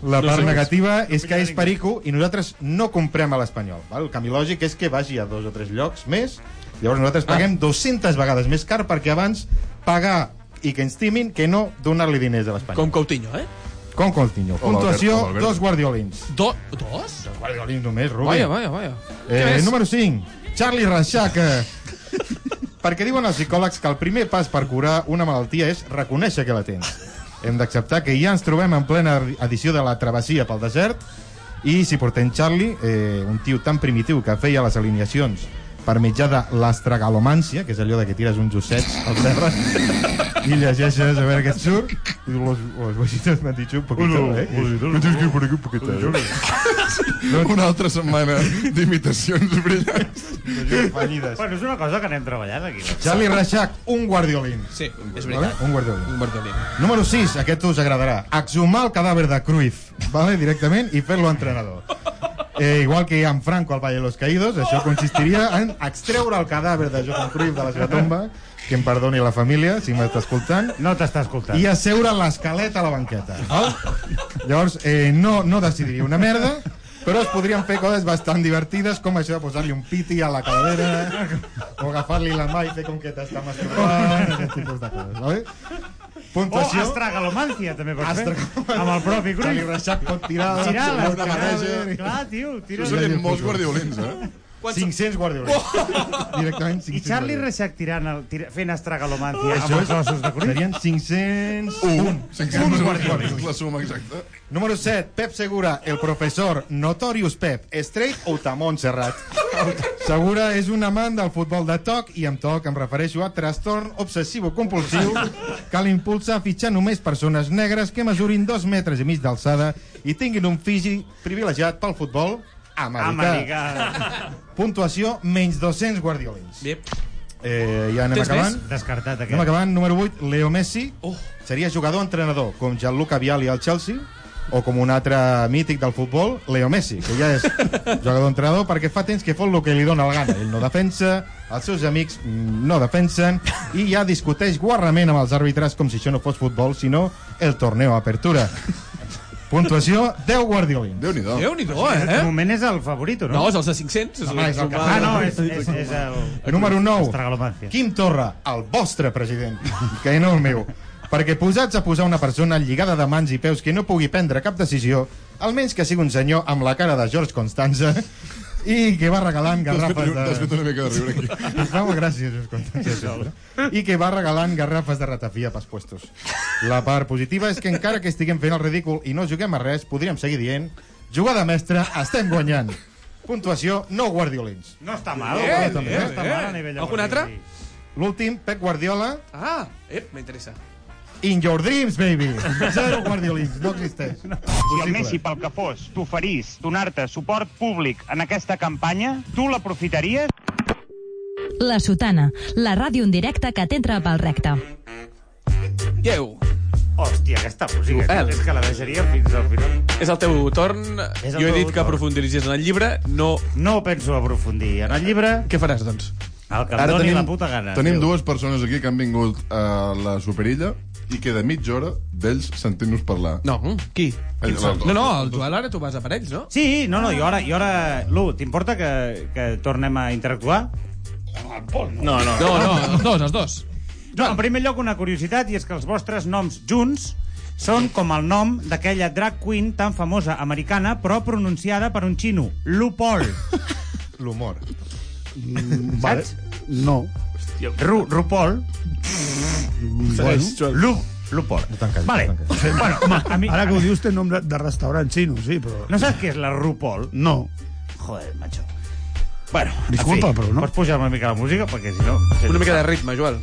S11: La
S2: No
S11: part
S2: sé.
S11: negativa és que és perico i nosaltres no comprem a l'Espanyol. val? El camí lògic és que vagi a dos o tres llocs més, llavors nosaltres paguem 200 vegades més car perquè abans pagar i que ens timin que no donar-li diners a l'Espanyol.
S14: Com Coutinho, eh?
S11: Com Coutinho.
S14: l'Albert- o
S11: Puntuació,
S14: l'Albert.
S11: dos guardiolins.
S14: Do, dos?
S11: Guardiolins només, Rubi.
S6: Vaja, vaja, vaja. Què
S11: Eh,
S6: més?
S11: número 5, Charlie Reixaca. Perquè diuen els psicòlegs que el primer pas per curar una malaltia és reconèixer que la tens. Hem d'acceptar que ja ens trobem en plena edició de la travessia pel desert i si portem Charlie, eh, un tio tan primitiu que feia les alineacions per mitjà de l'astregalomància, que és allò de que tires uns ossets al terra i llegeixes a veure què et surt, i los, los huesitos me han dicho un poquito,
S2: Uno,
S11: eh?
S2: uno,
S11: Me han dicho que por aquí un poquito, eh?
S2: Una altra setmana d'imitacions brillants.
S10: Bueno, és una cosa que anem treballant aquí.
S11: Charlie Reixac, un guardiolín.
S6: Sí, és
S11: Vale? Un guardiolín.
S6: Un guardiolí.
S11: Número 6, aquest us agradarà. Exhumar el cadàver de Cruyff, vale? directament, i fer-lo entrenador. Eh, igual que en Franco al Valle de los Caídos, això consistiria en extreure el cadàver de Johan Cruyff de la seva tomba, que em perdoni la família, si m'està escoltant.
S10: No t'està escoltant.
S11: I asseure l'esquelet a la banqueta.
S10: Oh.
S11: Val? Llavors, eh, no, no decidiria una merda, però es podrien fer coses bastant divertides, com això de posar-li un piti a la cadera, o agafar-li la mà i fer com que t'està masturbant, aquest tipus de coses, vale?
S10: Oh. O astragalomància, també pots fer. Amb el propi grup.
S11: Charlie Reixac pot tirar...
S10: Tirar la
S11: una
S10: cadàver.
S11: barreja.
S10: Clar, tio, tira...
S11: Surten molts guardiolins, eh? 500 guardiolins.
S6: Oh!
S11: Directament 500
S10: I
S11: guardiolins.
S10: Charlie
S11: Oh,
S10: Reixac tirant el, tira, fent astragalomància amb
S11: Això
S10: els ossos de Cruyff.
S11: Serien 500...
S2: Un. 500
S11: guardiolins.
S2: guardiolins. La suma exacta.
S11: Número 7, Pep Segura, el professor Notorious Pep, straight o Tamón Serrat. Segura és un amant del futbol de toc i amb toc em refereixo a trastorn obsessivo-compulsiu que l'impulsa a fitxar només persones negres que mesurin dos metres i mig d'alçada i tinguin un físic privilegiat pel futbol americà. Puntuació, menys 200 guardiolins.
S6: Yep.
S11: Eh, ja anem
S10: Tens
S11: acabant.
S10: més? Descartat, aquest. Oh.
S11: Anem acabant. Número 8, Leo Messi. Seria jugador-entrenador, com Gianluca Vialli al Chelsea, o com un altre mític del futbol, Leo Messi, que ja és jugador-entrenador perquè fa temps que fot el que li dóna la gana. Ell no defensa, els seus amics mm, no defensen, i ja discuteix guarrament amb els àrbitres com si això no fos futbol, sinó el torneo apertura. Puntuació, 10 guardiolins.
S2: Déu-n'hi-do.
S10: Déu-n'hi-do,
S11: eh?
S10: De moment és el favorito, no?
S11: No, és
S10: els de 500.
S11: és
S10: Home,
S11: el
S10: és el que...
S11: sumar.
S10: Ah, no, és, és, és el...
S11: Número 9.
S10: Astragalomància.
S11: Quim Torra, el vostre president, que no el meu. Perquè posats a posar una persona lligada de mans i peus que no pugui prendre cap decisió, almenys que sigui un senyor amb la cara de George Constanza i que va regalant
S2: T'has fet
S11: garrafes
S2: riure- t'has fet una mica de riure aquí.
S11: Em fa molt gràcia, George Constanza. sempre. I que va regalant garrafes de ratafia pels puestos. La part positiva és que encara que estiguem fent el ridícul i no juguem a res, podríem seguir dient jugada mestra, estem guanyant. Puntuació, no guardiolins.
S10: No està mal.
S11: Bé,
S10: eh?
S11: bé,
S10: no està
S11: bé.
S10: mal a nivell de
S11: Algun
S10: guardiolí.
S11: altre? L'últim, Pep Guardiola,
S6: Ah, ep, m'interessa.
S11: In Your Dreams, baby. Zero guardiolins, no existeix.
S16: Si el Messi, pel que fos, t'oferís donar-te suport públic en aquesta campanya, tu l'aprofitaries?
S3: La Sotana, la ràdio en directe que t'entra pel recte.
S14: Lleu.
S10: Hòstia, aquesta música.
S14: Joel.
S10: És que la deixaríem fins al final.
S14: És el teu torn.
S10: És el
S14: jo he
S10: meu
S14: dit que
S10: torn.
S14: aprofundiries en el llibre. No...
S10: No penso aprofundir en el llibre.
S14: Què faràs, doncs?
S10: El que em
S2: Ara
S10: doni
S2: tenim-
S10: la puta gana.
S2: Tenim
S10: tio.
S2: dues persones aquí que han vingut a la Superilla i queda mitja hora d'ells sentint-nos parlar.
S14: No, qui?
S2: Ells,
S14: No, no,
S2: el
S14: Joel, ara tu vas a per ells, no?
S10: Sí, no, no, jo ara... Jo ara... Lu, t'importa que, que tornem a interactuar? No, no.
S14: No, no, els dos, els dos.
S10: No, en primer lloc, una curiositat, i és que els vostres noms junts són com el nom d'aquella drag queen tan famosa americana, però pronunciada per un xino, Lupol.
S11: L'humor.
S7: Mm,
S10: Vale. No. Ru Rupol.
S7: Bueno.
S10: Lu Lupol. Vale. Bueno, home, a mi...
S7: Ara que ho dius té nom de, de restaurant xino, sí, però...
S10: No saps què és la Rupol?
S7: No.
S10: Joder, macho. Bueno,
S7: Disculpa,
S10: en fi,
S7: però no.
S10: Pots pujar una mica la música, perquè si no...
S14: Una mica de ritme, Joel.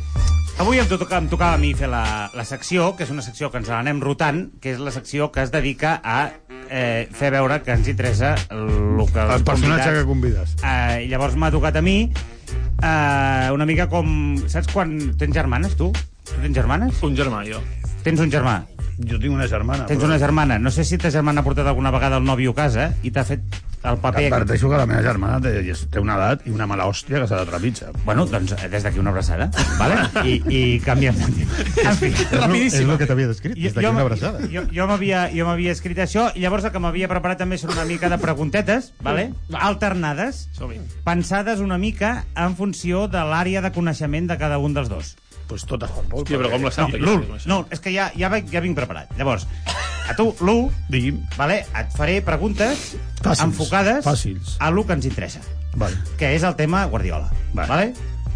S10: Avui em, toca, em tocava a mi fer la, la secció, que és una secció que ens l'anem rotant, que és la secció que es dedica a eh, fer veure que ens interessa el, el que
S7: El personatge que convides.
S10: convidats- Eh, llavors m'ha tocat a mi eh, una mica com... Saps quan tens germanes, tu? Tu tens germanes?
S12: Un germà, jo.
S10: Tens un germà.
S7: Jo tinc una
S17: Ah,
S7: germana.
S10: Tens una germana. No sé si ta germana ha portat alguna vegada el nòvio a casa i t'ha fet el paper...
S17: Adverteixo que la meva germana té, té una edat i una mala hòstia que se la trepitja.
S10: Bueno, doncs eh, des d'aquí una abraçada, vale? I, i canviem de tema. En fi,
S11: És el que t'havia descrit, des d'aquí una abraçada.
S10: Jo, jo m'havia jo m'havia escrit això i llavors el que m'havia preparat també són una mica de preguntetes, vale? alternades, pensades una mica en funció de l'àrea de coneixement de cada un dels dos.
S7: Pues totes per molt.
S12: Hòstia, però com la
S10: No,
S12: sap?
S10: l'ul, no, és que ja, ja, vaig, ja vinc preparat. Llavors, a tu, l'u,
S7: Digui'm.
S10: vale, et faré preguntes
S7: Fàcils,
S10: enfocades
S7: fàcils.
S10: a l'u que ens interessa,
S7: Vale.
S10: que és el tema Guardiola. Vale.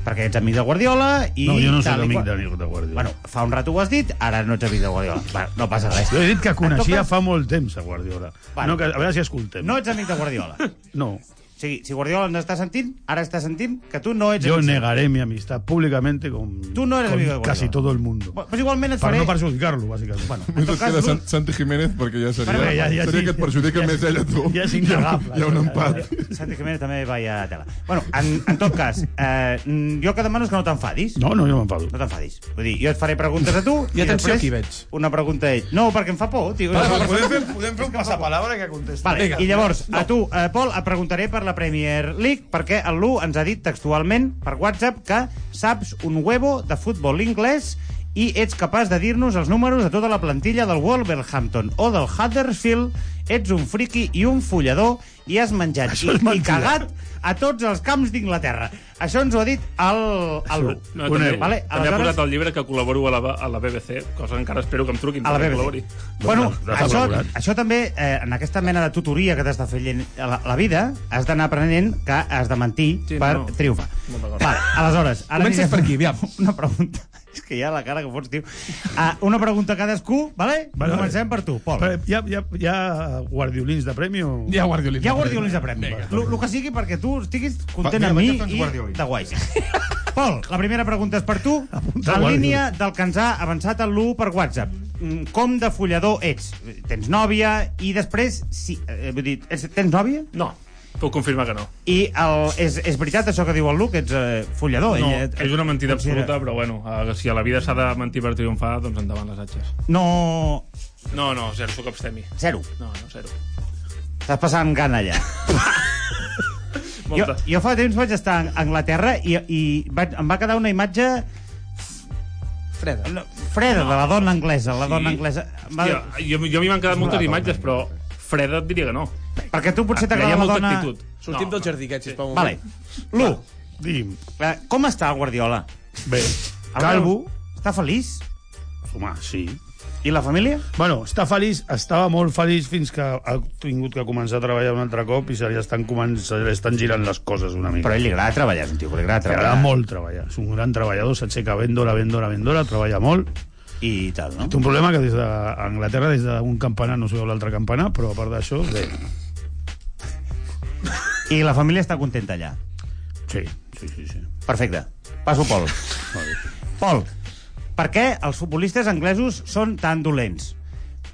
S10: Perquè ets amic de Guardiola i...
S7: No, jo no soc
S10: tal i
S7: amic
S10: qual.
S7: de, de Guardiola.
S10: Bueno, fa un rato ho has dit, ara no ets amic de Guardiola. Va, no passa res.
S7: Jo he dit que
S10: En
S7: coneixia
S10: tot cas,
S7: fa molt temps a Guardiola.
S10: Vale.
S7: No, que, a veure si escoltem.
S10: No ets amic de Guardiola.
S7: No.
S10: O sigui, si Guardiola ens està sentint, ara està sentint que tu no ets
S7: Yo
S10: amic seu.
S7: negaré mi amistad públicamente con,
S10: Tú no eres
S7: con
S10: amigo de Guardiola.
S7: casi todo el mundo.
S10: Bueno, Pues igualment et
S7: Para
S10: faré...
S7: no perjudicarlo, básicamente. Bueno,
S2: Només et
S10: cas,
S2: queda
S10: Lul.
S2: Sant, Santi Jiménez, perquè ja seria,
S7: Però bé, ja- ja
S2: seria
S7: sí.
S2: que et perjudica
S7: Ja
S2: més
S7: sí.
S2: ell a tu.
S7: Ja és innegable.
S2: Hi ha un empat.
S10: Santi Jiménez també va a tela. Bueno, en, en tot cas, eh, mm, jo el que demano és que no t'enfadis.
S7: No, no, jo m'enfado.
S10: No t'enfadis. Vull dir, jo et faré preguntes a tu...
S7: I atenció
S10: després
S7: qui veig.
S10: Una pregunta a ell. No, perquè em fa por, tio.
S2: Ah,
S14: podem fer, podem fer un passapalabra que contesta.
S10: Vale, I llavors, a tu, eh, Pol, et preguntaré per la Premier League, perquè el Lu ens ha dit textualment per WhatsApp que saps un huevo de futbol anglès i ets capaç de dir-nos els números de tota la plantilla del Wolverhampton o del Huddersfield, ets un friqui i un follador i has menjat i, i cagat a tots els camps d'Inglaterra. Això ens ho ha dit el, el Lu.
S12: No, també,
S10: Vale,
S12: també ha
S10: aleshores-
S12: posat el llibre que col·laboro a la, a la BBC, cosa que encara espero que em truquin.
S10: a la
S12: perquè
S10: BBC.
S12: col·labori.
S10: Bueno,
S12: Doncs, doncs,
S10: això,
S12: col·laborat.
S10: això també, eh, en aquesta mena de tutoria que t'està fent la, la vida, has d'anar aprenent que has de mentir sí, per
S12: no.
S10: no. triomfar.
S12: Molt d'acord.
S10: Vale, aleshores...
S14: Comences per aquí,
S10: aviam. Una pregunta... És que ja la cara que fots, tio. Uh, una pregunta a cadascú, vale?
S7: Vale,
S10: vale Comencem per tu, Pol.
S7: Però hi ha, hi ha, hi ha guardiolins de premi o...
S14: Hi ha guardiolins
S10: Ja guardiolins de premi. El que sigui perquè tu estiguis content
S7: Va, mira,
S10: amb mi
S7: mira, tants
S10: i
S7: guardiolins.
S10: de guais. Pol, la primera pregunta és per tu. En
S7: guardiolins.
S10: línia del que ens ha avançat el Lu per WhatsApp. Mm, Com de follador ets? Tens nòvia i després... Si, eh, vull dir, ets- tens nòvia?
S12: No. Puc confirmar que no.
S10: I el, és, és veritat això que diu el Lu, que ets eh, follador?
S12: No,
S10: Ell, eh,
S12: és una mentida
S10: considera-
S12: absoluta, però bueno, eh, si a la vida s'ha de mentir per triomfar, doncs endavant les atxes.
S10: No...
S12: No, no, zero, sóc abstemi.
S10: Zero.
S12: No, no, zero.
S10: Estàs passant gana allà. jo,
S12: Molta.
S10: jo fa temps vaig estar a Anglaterra i, i vaig, em va quedar una imatge... Freda. No, freda, de la dona anglesa. La dona anglesa. Em Va...
S12: Hòstia, jo, jo a mi m'han quedat moltes imatges, però freda et diria que no.
S10: eh? Perquè tu potser t'agrada
S12: Hi ha
S10: la
S12: molta
S10: dona...
S12: actitud.
S14: Sortim del jardí, aquest, sisplau. un
S10: Vale.
S14: moment.
S10: Lu,
S7: Digui'm.
S10: eh, com està el Guardiola?
S7: Bé,
S10: El Calvo. Està feliç?
S7: Home, sí.
S10: I la família?
S7: Bueno, està feliç, estava molt feliç fins que ha tingut que començar a treballar un altre cop i se li estan, començ- se li estan girant les coses una mica.
S10: Però a ell li agrada treballar, és un tio que li agrada
S7: Li
S10: treballar.
S7: agrada molt treballar. És un gran treballador, s'aixeca vendora, vendora, vendora, treballa molt.
S10: I tal, no?
S7: Té un problema que des d'Anglaterra, des d'un campanar, no sé l'altre campanar, però a part d'això, bé.
S10: I la família està contenta allà.
S7: Sí, sí, sí. sí.
S10: Perfecte. Passo Pol. Pol, per què els futbolistes anglesos són tan dolents?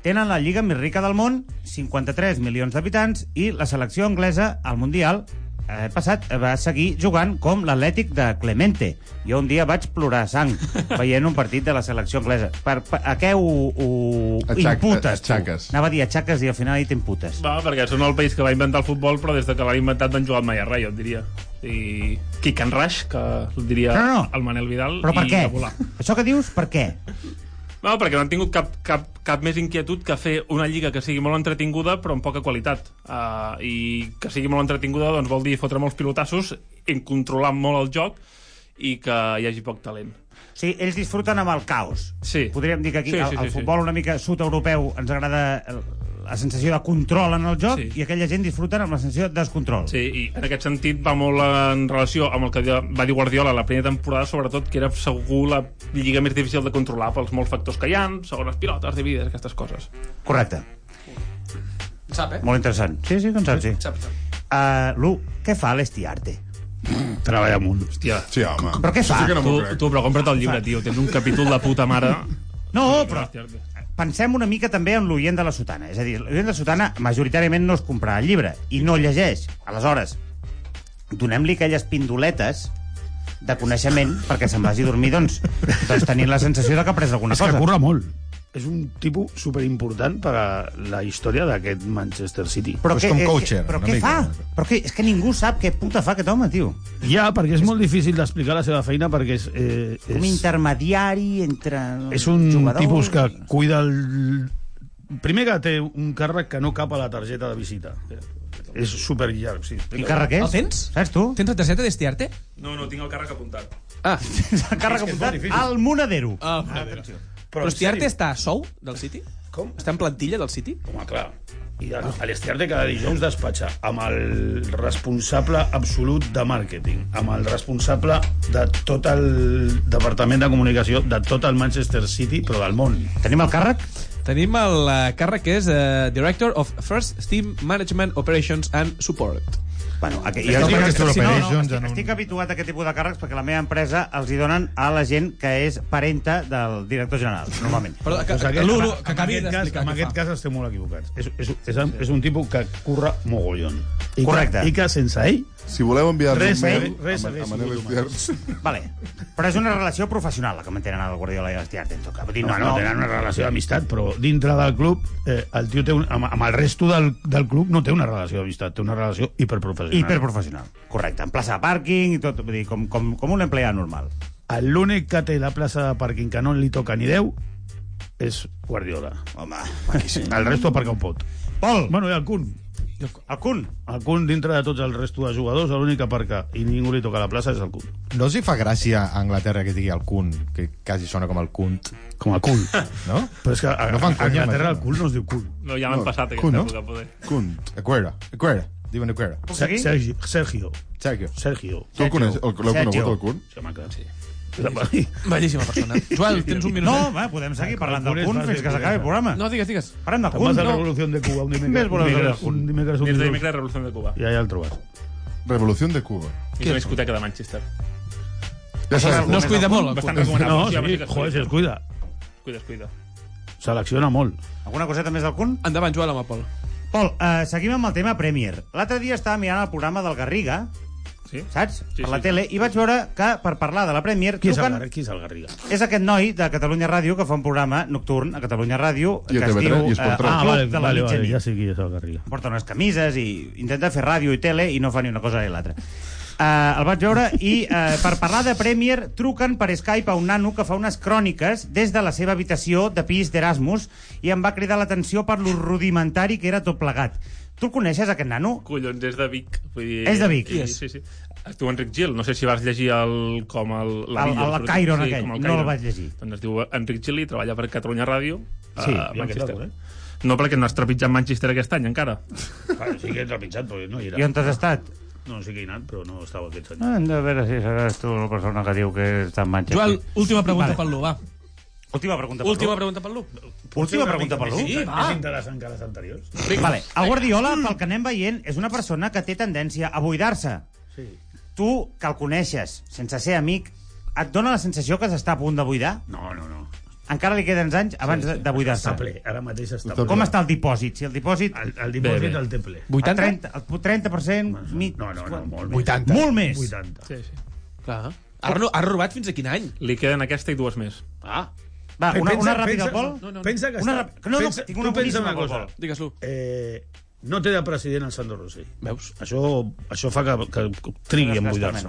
S10: Tenen la lliga més rica del món, 53 milions d'habitants, i la selecció anglesa al Mundial eh, passat va seguir jugant com l'Atlètic de Clemente. Jo un dia vaig plorar sang veient un partit de la selecció anglesa. Per, per, a què ho, ho
S2: Aixac-
S10: imputes? tu?
S2: aixaques.
S10: Anava a dir aixaques i al final hi t'imputes.
S12: Va, perquè són el país que va inventar el futbol, però des de que l'ha inventat no han jugat mai a res, jo et diria. I Kick and Rush, que el diria
S10: No, no.
S12: el Manel Vidal.
S10: Però per
S12: i
S10: què?
S12: a volar.
S10: Això que dius, per què?
S12: No, perquè no han tingut cap, cap, cap més inquietud que fer una lliga que sigui molt entretinguda però amb poca qualitat. Uh, I que sigui molt entretinguda doncs vol dir fotre molts pilotassos, en controlar molt el joc i que hi hagi poc talent.
S10: O sigui, ells disfruten amb el caos.
S12: Sí.
S10: Podríem dir que aquí
S12: Sí,
S10: sí,
S12: sí,
S10: sí, el,
S12: sí,
S10: el
S12: sí.
S10: futbol una mica sud-europeu ens agrada el- la sensació de control en el joc sí. i aquella gent disfruten amb la sensació de descontrol.
S12: Sí, i en aquest sentit va molt en relació amb el que va dir Guardiola a la primera temporada, sobretot que era segur la lliga més difícil de controlar pels molts factors que hi ha, segones pilotes, divides, aquestes coses.
S10: Correcte.
S14: Sap, eh?
S10: Molt interessant. Sí, sí, doncs sí. Uh, Lu, què fa l'Estiarte?
S7: Treballa molt.
S12: Hòstia.
S2: Sí, home.
S10: Però què fa?
S2: Sí que no
S12: Tu,
S2: m'ho crec.
S12: tu però compra't el llibre, tio, tens un capítol de puta mare.
S10: No, però pensem una mica també en l'oient de la sotana. És a dir, l'oient de la sotana majoritàriament no es compra el llibre i no llegeix. Aleshores, donem-li aquelles pindoletes de coneixement perquè se'n vagi a dormir doncs, doncs tenint la sensació de que ha après alguna
S7: És que
S10: cosa.
S7: curra molt. és un tipus superimportant per a la història d'aquest Manchester City.
S10: Però què- eh, què- Però què fa? Però què, és que ningú sap què puta fa aquest home, tio.
S7: Ja, perquè és molt difícil d'explicar la seva feina perquè és... Eh,
S10: Un
S7: és,
S10: intermediari entre
S7: és un
S10: jugadors.
S7: tipus que cuida el... Primer que té un càrrec que no cap a la targeta de visita. És superllarg, sí.
S10: Quin càrrec és?
S7: El tens?
S10: Saps tu?
S6: Tens la targeta d'estiarte?
S12: No, no, tinc el càrrec apuntat.
S6: Ah.
S10: El càrrec apuntat al Monedero.
S6: Ah, Monedero. Però, Estiarte està a sou del City? Com? Està en plantilla del City? Ah.
S7: Home, clar. I el, a l'Estiarte cada dijous despatxa amb el responsable absolut de màrqueting, amb el responsable de tot el departament de comunicació de tot el Manchester City, però del món.
S10: Tenim el càrrec?
S6: Tenim el eh, càrrec que és eh, Director of First Team Management Operations and Support.
S10: Bueno, aquí,
S6: jo
S10: estic, estic,
S6: estic,
S10: no, no, estic, estic habituat a aquest tipus de càrrecs perquè la meva empresa els hi donen a la gent que és parenta del director general, normalment.
S7: Però, que,
S10: Doncs
S7: que, que,
S10: aquest-
S7: que, que, en aquest, cas, en aquest cas esteu molt equivocats. És, és, és, és un tipus que curra mogollon. I
S10: Correcte.
S7: Que, I que sense ell...
S2: Si voleu enviar
S7: Res, eh?
S10: un
S7: res, res,
S10: mail a-
S7: res,
S10: a
S7: res,
S10: Manel Vale. Però és una relació professional la que mantenen el Guardiola i l'Estiarte. en tot cas. Vull dir,
S7: No, no, tenen una relació d'amistat, Eh, però dintre del club, eh, el tio té un, amb, amb el resto del, del club no té una relació d'amistat, té una relació hiperprofessional.
S10: Hiperprofessional, correcte. En plaça de pàrquing i tot, vull dir, com, com, com un empleat normal.
S7: L'únic que té la plaça de pàrquing que no li toca ni Déu és Guardiola.
S10: Home,
S7: El resto aparca on pot.
S10: Pol!
S7: Bueno, i el Kun.
S10: El Kun?
S7: El Kun, dintre de tots el resto de jugadors, l'únic que aparca i ningú li toca la plaça és el Kun.
S11: No els hi fa gràcia a Anglaterra que es digui el cun, que quasi sona com el cunt.
S7: Com el cul.
S11: No?
S7: Però és que a,
S11: Ah, no
S7: a
S11: fan conya,
S7: Anglaterra el cul no es diu cul.
S12: No, ja m'han passat aquesta
S11: Kun, no?
S12: època, poder.
S11: Cunt. Acuera. Acuera. Diuen Acuera.
S7: Puc seguir? Sergi- Sergio.
S11: Sergio.
S7: Sergio.
S2: Tu el coneix, el, l'heu
S7: Sergio.
S2: conegut, el Kun?
S7: Sí, home, clar, sí.
S6: Bellíssima persona. Joel, tens un minut.
S10: No, va, podem seguir parlant del Kun fins que s'acabi el programa.
S6: No, digues, digues.
S10: Parlem del
S7: Te'n vas a
S10: Kun,
S7: la
S10: no?
S7: Revolució de Cuba un dimecres.
S10: Més voleu saber del
S7: un dimecres, un
S12: Des de
S7: dilluns.
S12: dimecres, Revolució de Cuba.
S7: I allà el trobes.
S2: Revolució de Cuba.
S12: És una discoteca de Manchester.
S2: Ja
S7: sabeu.
S12: No es cuida molt, el
S7: Bastant
S12: Kun.
S7: recomanable.
S12: No, sí,
S7: No, sí,
S12: sí,
S7: joder, si es cuida.
S12: Cuida, es cuida.
S7: Selecciona molt.
S10: Alguna coseta més del Kun?
S6: Endavant, Joel, amb el Pol.
S10: Pol, eh, seguim amb el tema Premier. L'altre dia estava mirant el programa del Garriga,
S12: sí?
S10: saps?
S7: Sí,
S10: a la
S7: sí.
S10: tele, i vaig veure que per parlar de la Premier
S7: Qui és, el,
S10: truquen-
S7: Gar- qui és el Garriga?
S10: és aquest noi de Catalunya Ràdio que fa un programa nocturn a Catalunya Ràdio
S7: I a
S10: que es
S7: TV3
S10: diu
S7: i es pot
S10: eh,
S7: trobar.
S10: El
S7: Ah,
S10: Club
S7: vale,
S10: de la
S7: vale, vale,
S10: Mitjanit.
S7: ja sé qui és el Garriga.
S10: Porta unes camises i intenta fer ràdio i tele i no fa ni una cosa ni l'altra. Uh, el vaig veure i uh, per parlar de Premier truquen per Skype a un nano que fa unes cròniques des de la seva habitació de pis d'Erasmus i em va cridar l'atenció per lo rudimentari que era tot plegat. Tu el coneixes, aquest nano?
S12: Collons, és de Vic. Vull dir...
S10: És de Vic. Qui
S12: Sí,
S10: és?
S12: sí, sí. Es diu Enric Gil. No sé si vas llegir el, com el...
S10: El-
S12: vídeo,
S10: el
S12: sobretot.
S10: Cairon aquell.
S12: com
S10: No
S12: Cairon.
S10: el vaig llegir.
S12: Doncs es diu Enric Gil i treballa per Catalunya Ràdio eh, a
S7: Sí,
S12: sí,
S7: ja em
S12: Manchester.
S10: eh?
S7: queda,
S12: No, perquè no has trepitjat Manchester aquest any, encara.
S7: Bueno, sí que entra pitjat, però no hi era.
S10: I on t'has estat?
S7: No, sí que hi he anat, però no estava aquest any.
S10: Ah, hem de veure si seràs tu la persona que diu que està en Manchester.
S6: Joel, última pregunta
S10: Vale.
S6: pel Lu, va.
S10: Última pregunta per
S6: Última
S10: tu.
S6: pregunta pel Lu.
S10: Última pregunta per Ah. Lu?
S7: Sí,
S10: Sí,
S7: és interessant que les anteriors.
S10: Vale. El Guardiola, pel que anem veient, és una persona que té tendència a buidar-se.
S7: Sí.
S10: Tu, que el coneixes, sense ser amic, et dona la sensació que s'està a punt de buidar?
S7: No, no, no.
S10: Encara li queden anys abans de- de buidar-se.
S7: Està ple, ara mateix està ple.
S10: Com està el dipòsit? Si el dipòsit...
S7: El, el dipòsit el té ple.
S10: El 30, el 30%, mig...
S7: No, no, no, molt més.
S10: 80. Molt més.
S7: 80.
S6: Sí, sí. Clar. Ha, ha robat fins a quin any?
S12: Li queden aquesta i dues més.
S6: Ah.
S10: Va, una, una
S7: Pensa-
S10: ràpida,
S7: pensa-
S10: Pol.
S7: No, no, no. Pensa que
S10: una
S7: està-
S10: rap- No, no,
S7: pensa-
S10: tinc
S7: tu
S10: una
S7: pensa
S10: boníssima,
S7: una cosa.
S10: Pol.
S6: Digues-lo.
S7: Eh, no té de president el Sandro Rossi.
S6: Veus?
S7: Això, això fa que, que trigui en buidar-se.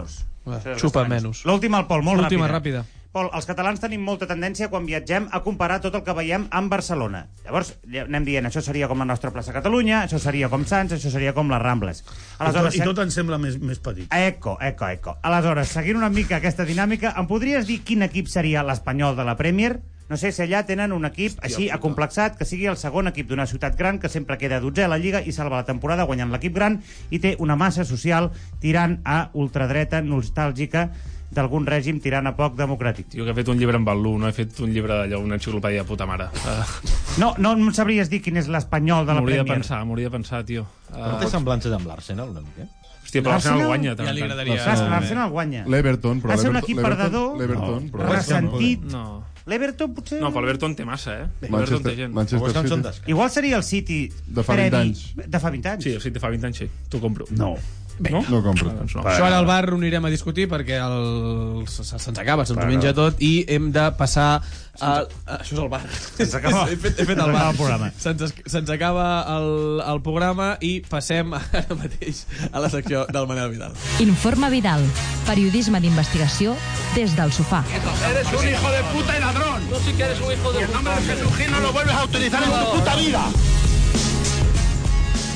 S6: Va, Xupa menys.
S10: L'última al Pol, molt
S6: L'última,
S10: ràpida.
S6: ràpida.
S10: Pol, els catalans tenim molta tendència quan viatgem a comparar tot el que veiem amb Barcelona. Llavors ja anem dient, això seria com la nostra plaça Catalunya, això seria com Sants, això seria com les
S7: I
S10: Rambles.
S7: tot,
S10: Aleshores, eh?
S7: I tot em sembla més, més petit.
S10: Eco, eco, eco. Aleshores, seguint una mica aquesta dinàmica, em podries dir quin equip seria l'espanyol de la Premier? No sé si allà tenen un equip Hòstia, així acomplexat que sigui el segon equip d'una ciutat gran que sempre queda 12 a la Lliga i salva la temporada guanyant l'equip gran i té una massa social tirant a ultradreta nostàlgica d'algun règim tirant a poc democràtic.
S12: Tio, que he fet un llibre amb el Lu, no he fet un llibre d'allò, una enciclopèdia de puta mare. Uh,
S10: No, no em sabries dir quin és l'espanyol de la
S12: m'hauria de
S10: Premier.
S12: pensar, m'hauria de pensar, tio. Ah.
S11: No té semblances amb l'Arsenal, una mica?
S12: Hòstia, però l'Arsenal
S10: L'Arsenal?
S12: guanya. tant,
S6: Ja li
S12: tant.
S6: agradaria.
S10: L'Arsenal- L'Arsenal guanya.
S2: L'Everton, però
S10: Va ser un
S2: l'Everton-
S10: equip
S2: l'Everton-
S10: perdedor,
S2: l'Everton, però l'Everton-
S10: ressentit.
S12: No.
S10: L'Everton potser...
S12: No, però l'Everton té massa, eh? L'Everton té
S2: Manchester,
S12: gent.
S2: Manchester City.
S10: Igual seria el City
S2: De fa 20
S10: previ-
S2: anys.
S10: De fa 20 anys.
S12: Sí, el City fa 20 anys, sí. T'ho compro.
S7: No.
S6: Bé, no?
S2: No compro.
S6: Doncs no. Això ara al bar ho anirem a discutir perquè el... se- se- se'ns acaba, se'ns ho menja tot i hem de passar... A... a- Això és el bar. Se'ns
S14: acaba.
S6: he, fet, he fet
S14: Se'ns
S6: el
S14: acaba
S6: bar.
S14: el programa.
S6: Se'ns es- se'ns acaba el, el programa i passem ara mateix a la secció del Manel Vidal.
S3: Informa Vidal. Periodisme d'investigació des del sofà.
S13: Eres un hijo de puta y ladrón. Tú sí que eres un hijo de puta. el nombre de Jesús Gil no lo vuelves a utilizar en tu puta vida.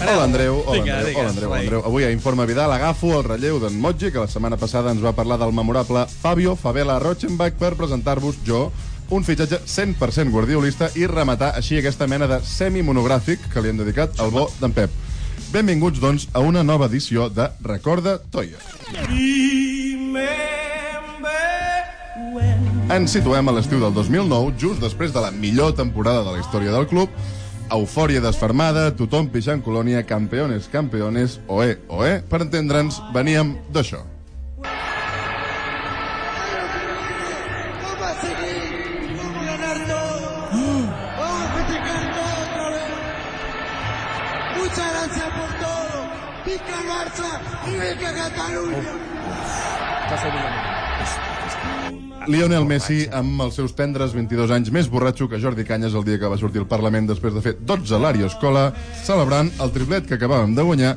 S2: Hola, Andreu. Hola,
S13: Vinga,
S2: Andreu.
S13: vinga,
S2: Hola, Andreu.
S13: vai.
S2: Andreu. Avui a Informe Vidal agafo el relleu d'en Motgi, que la setmana passada ens va parlar del memorable Fabio Favela Rochenbach per presentar-vos jo un fitxatge 100% guardiolista i rematar així aquesta mena de semi-monogràfic que li hem dedicat al bo d'en Pep. Benvinguts, doncs, a una nova edició de Recorda Toia. Ens situem a l'estiu del 2009, just després de la millor temporada de la història del club. Eufòria desfermada, tothom pixant colònia, campeones, campeones, oe, oe. Per entendre'ns, veníem d'això.
S13: Vamos a festejar todo otra vez. Muchas gracias por todo. Pica Barça y viva Cataluña.
S2: Lionel Messi, amb els seus tendres 22 anys, més borratxo que Jordi Canyes el dia que va sortir al Parlament després de fer 12 l'Ario Escola, celebrant el triplet que acabàvem de guanyar,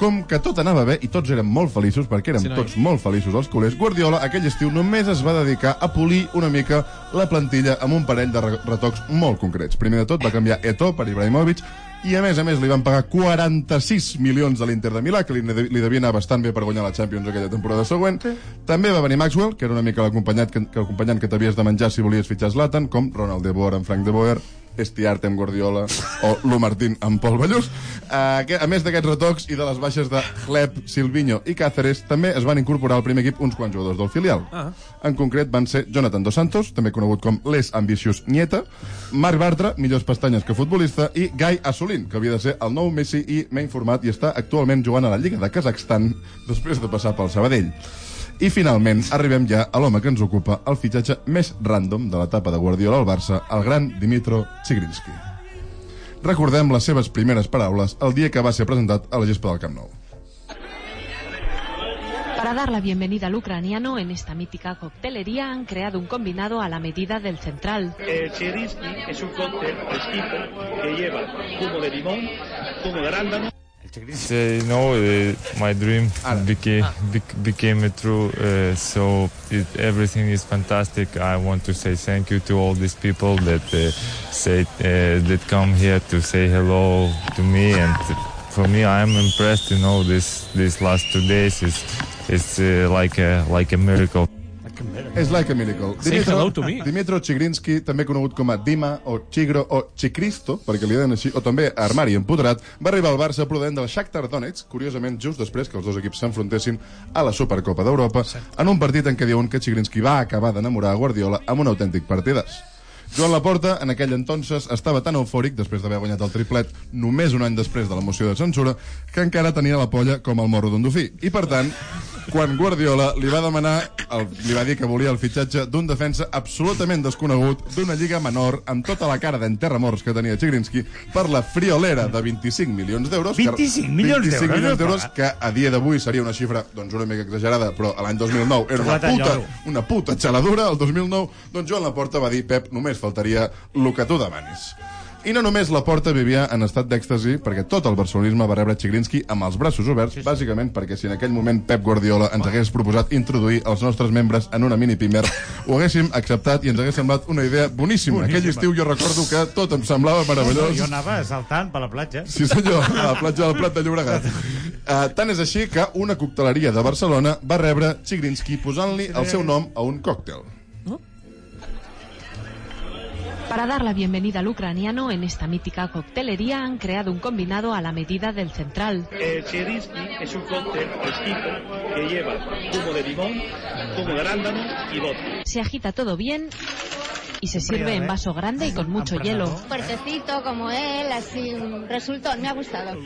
S2: com que tot anava bé i tots érem molt feliços, perquè érem
S18: Sí,
S2: sí,
S18: noi.
S2: tots molt feliços els culers, Guardiola aquell estiu només es va dedicar a polir una mica la plantilla amb un parell de re- retocs molt concrets. Primer de tot va canviar Eto per Ibrahimovic, i a més a més li van pagar 46 milions de l'Inter de Milà, que li, ne- li devia anar bastant bé per guanyar la Champions aquella temporada següent. Sí. També va venir Maxwell, que era una mica l'acompanyat que, que, acompanyant que t'havies de menjar si volies fitxar Zlatan, com Ronald de Boer amb Frank de Boer, Esti Arte amb Guardiola o Lu Martín amb Pol Ballús. Uh, que, a més d'aquests retocs i de les baixes de Hleb, Silvinho i Cáceres, també es van incorporar al primer equip uns quants jugadors del filial.
S13: Ah.
S2: En concret van ser Jonathan Dos Santos, també conegut com Les Ambicious Nieta, Marc Bartra, millors pestanyes que futbolista, i Gai Assolin, que havia de ser el nou Messi i m'he informat i està actualment jugant a la Lliga de Kazakhstan després de passar pel Sabadell. I finalment arribem ja a l'home que ens ocupa el fitxatge més random de l'etapa de Guardiola al Barça, el gran Dimitro Sigrinski. Recordem les seves primeres paraules el dia que va ser presentat a la gespa del Camp Nou.
S19: Para dar la bienvenida al ucraniano en esta mítica coctelería han creado un combinado a la medida del central.
S20: El Chirinsky es Eh, un cóctel fresquito que lleva zumo de limón, zumo de arándano.
S21: They know uh, my dream became, bec- became a true, uh, so it, everything is fantastic. I want to say thank you to all these people that uh, say uh, that come here to say hello to me, and for me, I'm impressed. You know, this these last two days is it's uh, like a like a miracle.
S2: És like a miracle.
S21: Say hello to me.
S2: Dimitro Chigrinsky, també conegut com a Dima o Chigro o Chicristo, perquè li deien així, o també Armari Empodrat, va arribar al Barça provent del Shakhtar Donetsk, curiosament just després que els dos equips s'enfrontessin a la Supercopa d'Europa, en un partit en què diuen que Chigrinsky va acabar d'enamorar a Guardiola amb un autèntic partidàs. Joan Laporta, en aquell entonces, estava tan eufòric després d'haver guanyat el triplet només un any després de la moció de censura que encara tenia la polla com el morro d'un dofí. I, per tant, quan Guardiola li va demanar, el, li va dir que volia el fitxatge d'un defensa absolutament desconegut d'una lliga menor amb tota la cara d'enterramors que tenia Chigrinsky per la friolera de 25 milions d'euros. que-
S10: 25 milions
S2: 25
S10: d'euros,
S2: milions
S10: no
S2: d'euros que a dia d'avui seria una xifra doncs una mica exagerada, però a l'any 2009 era una
S10: Xulata de
S2: puta,
S10: lloro.
S2: una puta xaladura, el 2009, doncs Joan Laporta va dir, Pep, només faltaria lo que tu demanis. I no només la porta vivia en estat d'èxtasi, perquè tot el barcelonisme va rebre Chigrinsky amb els braços oberts, bàsicament perquè si en aquell moment Pep Guardiola ens hagués proposat introduir els nostres membres en una mini pimer, ho haguéssim acceptat i ens hagués semblat una idea boníssima.
S10: Boníssima.
S2: Aquell estiu jo recordo que tot em semblava Ah, meravellós.
S10: Jo anava saltant per la platja. Eh,
S2: Sí, senyor, a la platja del Prat de Llobregat. Uh, tant és així que una cocteleria de Barcelona va rebre Chigrinsky posant-li el seu nom a un còctel.
S19: Para dar la bienvenida al ucraniano en esta mítica coctelería han creado un combinado a la medida del central.
S20: El Chirinsky Eh, es un cóctel fresquito que lleva zumo de limón, zumo de arándano y vodka.
S19: Se agita todo bien y se sirve
S20: Empleado,
S19: en
S20: ¿eh?
S19: vaso grande y con mucho hielo.
S22: Fuertecito como él, así un resultón, me ha gustado.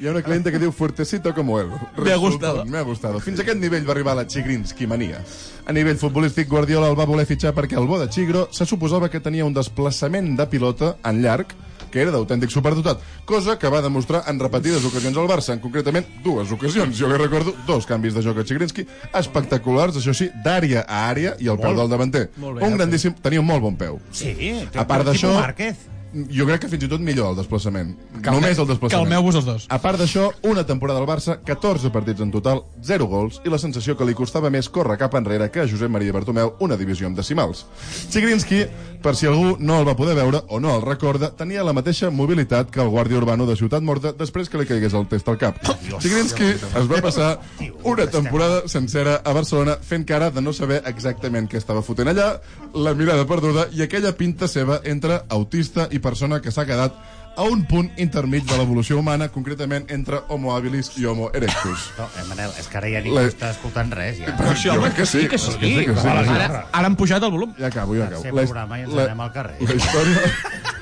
S2: Hi ha una clienta que diu fuertecito como él.
S14: Me ha gustado.
S2: Me ha gustado. Fins a aquest nivell va arribar la Chigrinsky mania. A nivell futbolístic, Guardiola el va voler fitxar perquè el bo de Chigro se suposava que tenia un desplaçament de pilota en llarg que era d'autèntic superdotat, cosa que va demostrar en repetides ocasions al Barça, en concretament dues ocasions. Jo que recordo dos canvis de joc a Chigrinsky, espectaculars, això sí, d'àrea a àrea i el peu
S10: Molt.
S2: del davanter.
S10: Molt bé,
S2: un grandíssim... Tenia un molt bon peu.
S10: Sí,
S2: A part d'això,
S10: tipus Márquez.
S2: jo crec que fins i tot millor el desplaçament.
S14: Calme-
S2: Només el desplaçament.
S14: calmeu-vos els dos.
S2: A part d'això, una temporada al Barça, 14 partits en total, 0 gols, i la sensació que li costava més córrer cap enrere que a Josep Maria Bartomeu una divisió amb decimals. Chigrinsky, per si algú no el va poder veure o no el recorda, tenia la mateixa mobilitat que el guàrdia urbano de Ciutat Morta després que li caigués el test al cap. Chigrinsky es va passar una temporada sencera a Barcelona fent cara de no saber exactament què estava fotent allà, la mirada perduda i aquella pinta seva entre autista i persona que s'ha quedat a un punt intermig de l'evolució humana, concretament entre homo habilis i homo erectus.
S10: No, eh, Manel, és que ara ja ningú
S2: La-
S10: està escoltant res, ja.
S2: Però això, Jo crec que sí.
S14: Sí que sí. Ara-
S2: ara han pujat el volum. Ja acabo, ja acabo.
S10: Tercer
S2: La-
S10: programa i ens
S2: la-
S10: anem al carrer. eh?
S2: La història...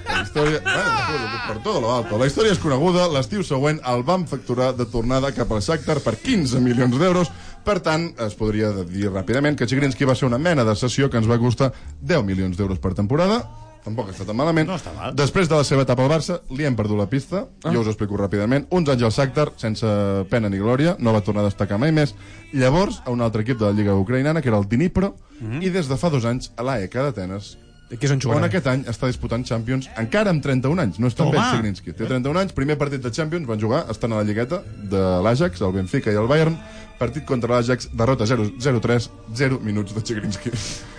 S2: La història... Bueno, per tot lo alto. La història és coneguda. L'estiu següent el van facturar de tornada cap al Shakhtar per 15 milions d'euros. Per tant, es podria dir ràpidament que Chigrinsky va ser una mena de sessió que ens va costar 10 milions d'euros per temporada. Tampoc està tan malament. No està mal. Després de la seva etapa al Barça, li hem perdut la pista. Ah. Jo us ho explico ràpidament. Uns anys al Shakhtar, sense pena ni glòria, no va tornar a destacar mai més. Llavors, a un altre equip de la Lliga Ucraïnana, que era el Dnipro,
S10: Mhm.
S2: mm -hmm. i des de fa dos anys a l'AEK d'Atenes,
S14: Aquí és on jugarà.
S2: on aquest any està disputant Champions encara amb 31 anys, no és tan
S14: Toma!
S2: vell Sigrinski. Té 31 anys, primer partit de Champions, van jugar, estan a la lligueta de l'Ajax, el Benfica i el Bayern, partit contra l'Ajax, derrota 0 0-3, 0 minuts de Sigrinski.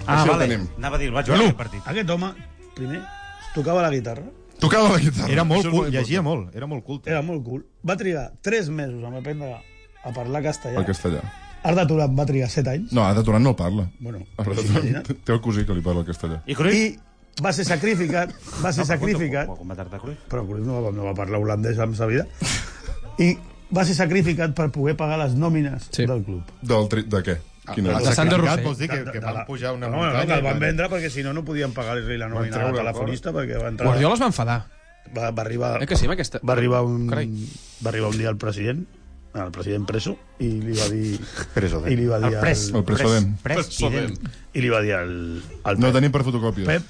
S10: Ah,
S2: Així
S10: vale.
S2: el tenim.
S10: Anava a dir, el vaig veure
S2: Bueno.
S10: aquest partit.
S7: Aquest home, primer, tocava la guitarra.
S2: Tocava la guitarra.
S11: Era molt
S7: Això és
S11: cul, llegia
S7: important.
S11: molt, era molt
S10: eh?
S11: culte.
S7: Era molt cool. Va trigar 3 mesos a aprendre a parlar castellà.
S2: El castellà.
S7: Arda Turan va trigar 7 anys.
S2: No, Ada Turan no el parla.
S7: Bueno,
S2: Arda
S7: imagina't.
S2: Turan té el cosí que li parla el castellà.
S7: I, Cruyff? I va ser sacrificat, va ser no,
S2: No, però
S7: sacrificat...
S10: Com va tardar Cruyff?
S7: Però Cruyff no va, no va parlar holandès en sa vida. I va ser sacrificat per poder pagar les nòmines sí. del club.
S2: Del tri... De què? Quina
S7: Ah,
S2: és?
S7: de Sandro Rossell.
S11: Vols dir que, que van pujar una
S7: No, no,
S11: muntanya?
S7: no, que el van
S11: i
S7: vendre perquè si no no podien pagar-li la nòmina
S11: treure
S7: al
S11: fora.
S7: telefonista perquè va entrar...
S14: Guardiola es va enfadar.
S7: va, va arribar...
S14: Eh que sí, amb aquesta-
S7: Va arribar un,
S14: Carai.
S7: va arribar un dia el president, el president preso, i li va dir...
S11: Preso de-
S7: I li va dir
S11: El pres-
S7: al-
S11: el president. Pres-
S7: President. I li va dir al... al
S2: No
S7: Pep,
S2: tenim per fotocòpies.
S7: Pep,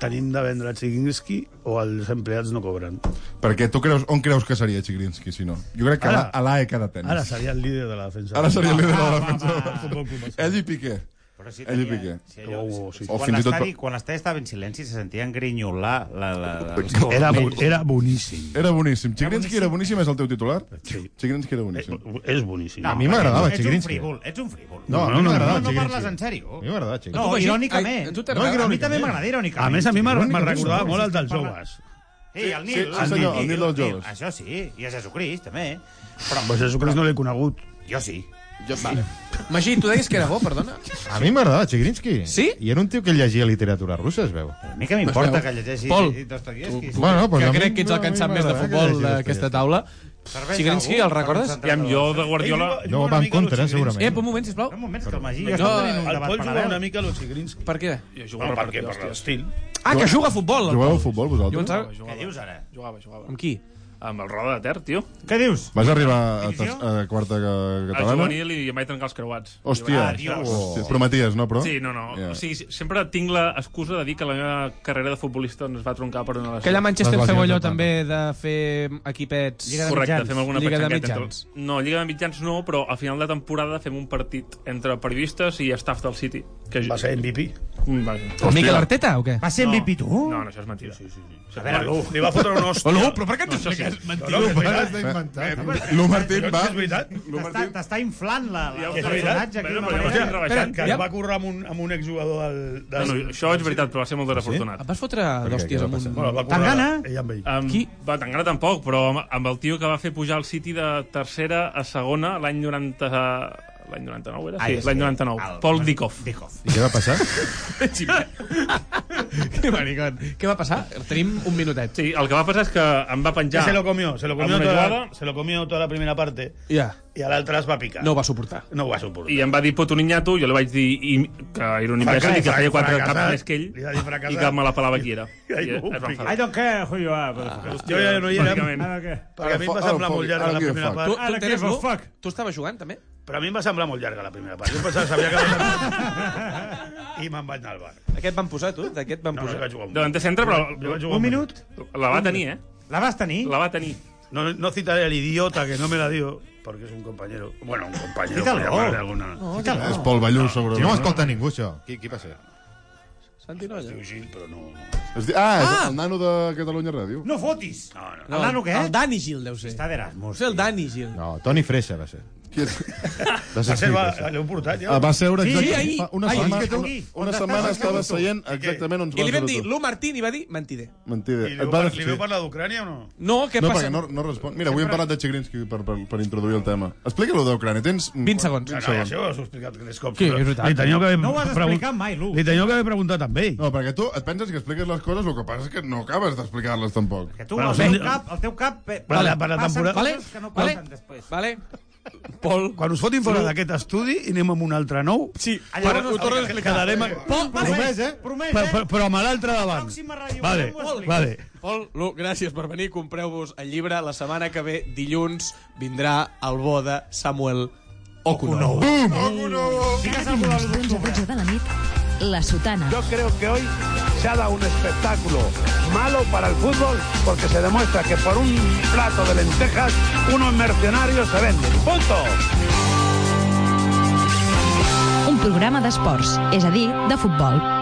S7: tenim de vendre a Chiginski o els empleats no cobren.
S2: Perquè tu creus, on creus que seria Chigrinsky, si no? Jo crec que
S10: Ah.
S7: Ara.
S2: ara, a l'AEK d'Atenes.
S7: Ara seria el líder de la defensa.
S2: Ara seria el líder de la
S7: Va, va,
S2: defensa del
S7: va,
S2: Barça.
S7: futbol club.
S2: Ell i Piqué.
S10: Però si
S2: Ell i
S10: tenia-
S2: Piqué.
S10: si allò-
S2: O-
S10: si-
S2: o
S10: quan
S2: fins i tot-
S10: l'estadi- Quan l'estadi estava en silenci se sentien grinyolar la... la, la
S7: Era, bo- era boníssim.
S2: Era boníssim. Chigrinsky era boníssim, és el teu titular? Sí. Chigrinsky era boníssim.
S7: Eh, És boníssim.
S11: A mi m'agradava
S10: eh, Ets un
S11: Chigrinsky.
S10: frívol, ets un frívol.
S11: No, a mi
S10: no,
S11: m'agradava
S10: no, no
S11: Chigrinsky.
S10: parles en sèrio.
S11: A mi m'agradava
S10: No,
S11: Chigrinsky.
S10: irònicament.
S11: a tu
S10: no,
S11: t'agradava?
S10: a mi també m'agrada irònicament.
S7: A més, a mi m'agra-
S10: Irònicament,
S7: m'agradava
S10: sí,
S7: molt el dels
S10: parla-
S7: joves.
S10: Ei, el
S7: Sí,
S10: Nil.
S7: sí, senyor, el Nil dels joves.
S10: Això sí, i a Jesucrist, també. Però,
S7: Però Jesucrist no l'he conegut.
S10: Jo sí.
S14: Jo sí. Magí, tu deies que era bo, perdona?
S11: A mi m'agradava Chigrinsky. Sí? I era un tio que llegia literatura russa, es veu.
S10: A mi que m'importa que llegeixi
S14: Pol,
S10: Dostoyevsky.
S11: tu- Bueno, pues a
S14: que
S11: mi-
S14: crec que ets el que en sap
S11: a mi
S14: més de
S11: m'agrada que
S14: futbol
S11: llegeixi
S14: d'aquesta
S11: Dostoievski.
S14: taula.
S10: Serveix
S14: Sigrinski,
S10: algú
S14: el
S10: per
S14: recordes?
S10: concentrar-nos? Hi ha millor de Guardiola.
S11: Jo va en contra, eh, segurament.
S14: Eh, un moment, sisplau.
S10: Un moment, que el Magí
S14: No,
S10: ja està tenint un
S7: el
S10: debat
S7: Pol juga una
S10: paral·lel.
S7: mica a lo Chigrinsky.
S14: Per què?
S12: Jo
S7: Bueno, perquè per l'estil.
S14: Ah, que juga a futbol. el
S2: Jugueu
S14: Pol.
S2: a futbol,
S14: Jo pensava-
S2: vosaltres?
S10: Què dius ara?
S12: Jugava, jugava.
S14: Amb qui?
S12: Amb el Roda de Ter, tio.
S10: Què dius? Ah,
S2: Vas arribar a, ter- a quarta ca-
S12: Al
S2: catalana?
S12: juvenil i em vaig trencar els creuats.
S2: Hòstia.
S12: I vaig-
S2: Hòstia. Prometies, no, però?
S12: Sí, no, no.
S2: Ja.
S12: O sigui, sempre tinc l'excusa de dir que la meva carrera de futbolista es va troncar per una lesió.
S18: Aquella Manchester feu allò també de fer equipets...
S12: Correcte, fem alguna
S18: Lliga de
S12: petxangueta
S18: mitjans.
S12: Entre... No, Lliga de Mitjans no, però a final de temporada fem un partit entre periodistes i staff del City. Que... Va
S7: ser MVP?
S12: Va,
S18: El Miquel Arteta o què?
S10: Va ser MVP tu?
S12: No, no, això és mentida. Sí, sí, sí.
S7: A veure, Lu, li va fotre un hòstia.
S14: Oh,
S12: Lu,
S7: però per què t'ho
S12: expliques?
S7: Mentida.
S11: Lu,
S7: és veritat.
S11: l'has d'inventar.
S7: Eh,
S11: tu.
S7: eh,
S11: Lu Martín
S7: collons,
S11: va-
S7: És veritat.
S10: T'està t'està inflant la, la,
S7: Que
S10: el
S7: és veritat.
S10: personatge aquí
S7: Bueno,
S10: d'una
S7: però,
S10: manera...
S7: hòstia, espera, que va currar amb un, amb un exjugador del...
S12: No, no, això és veritat, però va ser
S2: Ah,
S12: molt desafortunat.
S18: Et vas fotre d'hòsties amb un...
S7: Bueno, va currar Ell amb ell.
S12: Amb, Qui? Va, Tangana tampoc, però amb, amb el tio que va fer pujar el City de tercera a segona l'any 90... L'any 99 era?
S10: Ah,
S12: Sí,
S10: és
S12: l'any
S10: que-
S12: 99.
S10: el-
S12: Paul Dikoff.
S10: Dikoff.
S11: I què va passar?
S14: Que maricón. Què va passar? Tenim un minutet.
S12: Sí, el que va passar és que em va penjar...
S7: Que se lo comió, se lo
S12: amb
S7: comió,
S12: una
S7: toda,
S12: jugada.
S7: la- se lo comió toda la primera parte.
S18: Ja.
S7: I I a l'altre es va picar.
S6: No ho va suportar.
S7: No ho va suportar.
S12: I em va dir puto niñato, jo li vaig dir i, que era un imbècil i que feia quatre caps més que ell i que me la pelava qui era. I es va enfadar.
S16: I
S10: doncs
S16: don't care who you are. Ah,
S7: Jo ja no hi era, perquè a mi em va semblar molt llarg
S16: llarg
S7: la primera part.
S6: Tu, tu, tens, no?
S7: fuck?
S6: tu estaves jugant, també?
S7: Però a mi em va semblar molt llarga la primera part. Jo pensava, sabia que I me'n vaig anar al bar.
S6: Aquest van posar, tu? D'aquest van posar.
S7: vaig jugar un
S12: Davant de centre, però...
S7: Jo vaig jugar un minut.
S12: La va tenir, eh?
S10: La vas tenir?
S12: La va tenir.
S7: No, no citaré al idiota que no me la dio, porque es un compañero. Bueno, un compañero.
S11: Cítalo.
S7: por llamarle alguna...
S11: No,
S2: És Pol
S10: Ah.
S2: Ballús, segurament.
S11: Si no ho escolta ningú, això.
S7: Qui, qui va ser?
S6: Santi Nolla.
S7: Es diu Gil, però no...
S2: Es di... Ah, és
S6: Ah!
S2: el nano de Catalunya Ràdio.
S10: No fotis!
S7: No, no.
S10: El nano què?
S6: El Dani Gil, deu ser.
S10: Està d'Erasmus.
S6: És el Dani Gil.
S11: No, Toni Freixa va ser.
S2: Qui és?
S11: Va
S7: Va ser,
S11: Gil,
S7: va,
S11: va ser.
S7: l'heu portat, ja?
S2: Ah, va seure
S6: Sí,
S2: exactament...
S6: ahir.
S2: fa una,
S6: Ahir,
S2: setmana,
S6: aquí,
S2: una,
S6: aquí.
S2: una
S6: On
S2: setmana
S6: estàs?
S2: estava
S6: Estàs tu.
S2: seient exactament on
S6: I li
S2: vas
S6: vam dir,
S2: tu.
S6: l'U Martín, i va dir, mentider.
S2: Mentida.
S7: I li,
S2: Et
S7: veu,
S2: va
S7: par- li
S2: desfer.
S7: veu parlar d'Ucrània o no?
S6: No, què
S2: no,
S6: passa?
S2: perquè no, no respon. Mira, avui hem parlat de Chigrinsky per, per, per introduir el tema. Explica-lo d'Ucrània. Tens...
S6: 20
S2: Doncs
S6: segons.
S7: No, no, ja això ho has explicat tres cops.
S6: Sí,
S7: però
S6: és veritat.
S7: Li teníeu que haver...
S10: No ho has
S7: pregun-
S10: explicat mai, Lu.
S7: Li teníeu que haver preguntat amb ell.
S2: No, perquè tu et penses que expliques les coses, el que passa és que no acabes d'explicar-les tampoc.
S10: Que tu,
S7: Bueno,
S10: el teu
S7: són-
S10: cap, el teu cap... eh,
S7: Vale, per la
S10: passen
S7: temporada- Vale,
S10: coses Que no
S7: vale.
S10: passen després.
S6: Vale? Pol.
S7: Quan us fotin fora d'aquest estudi i anem amb un altre nou,
S14: Sí,
S10: Ah,
S14: però
S10: llavors
S14: ho
S10: no
S14: torno a
S10: explica.
S14: explicar.
S7: quedarem...
S6: Pol, vale.
S10: Promès, eh? Promès,
S7: Però, però,
S10: eh?
S7: però amb l'altre davant.
S10: Pròxima ràdio,
S7: Vale,
S10: ho explica.
S7: vale.
S14: Pol, Lu, gràcies per venir. Compreu-vos el llibre. La setmana que ve, dilluns, vindrà el bo de Samuel Okunou.
S3: Cada dilluns d'11 a 12 de la nit, La Sotana.
S1: Yo creo que hoy se ha dado un espectáculo malo para el fútbol porque se demuestra que por un plato de lentejas unos mercenarios se venden. ¡Punto!
S3: Un programa d'esports, és a dir, de futbol.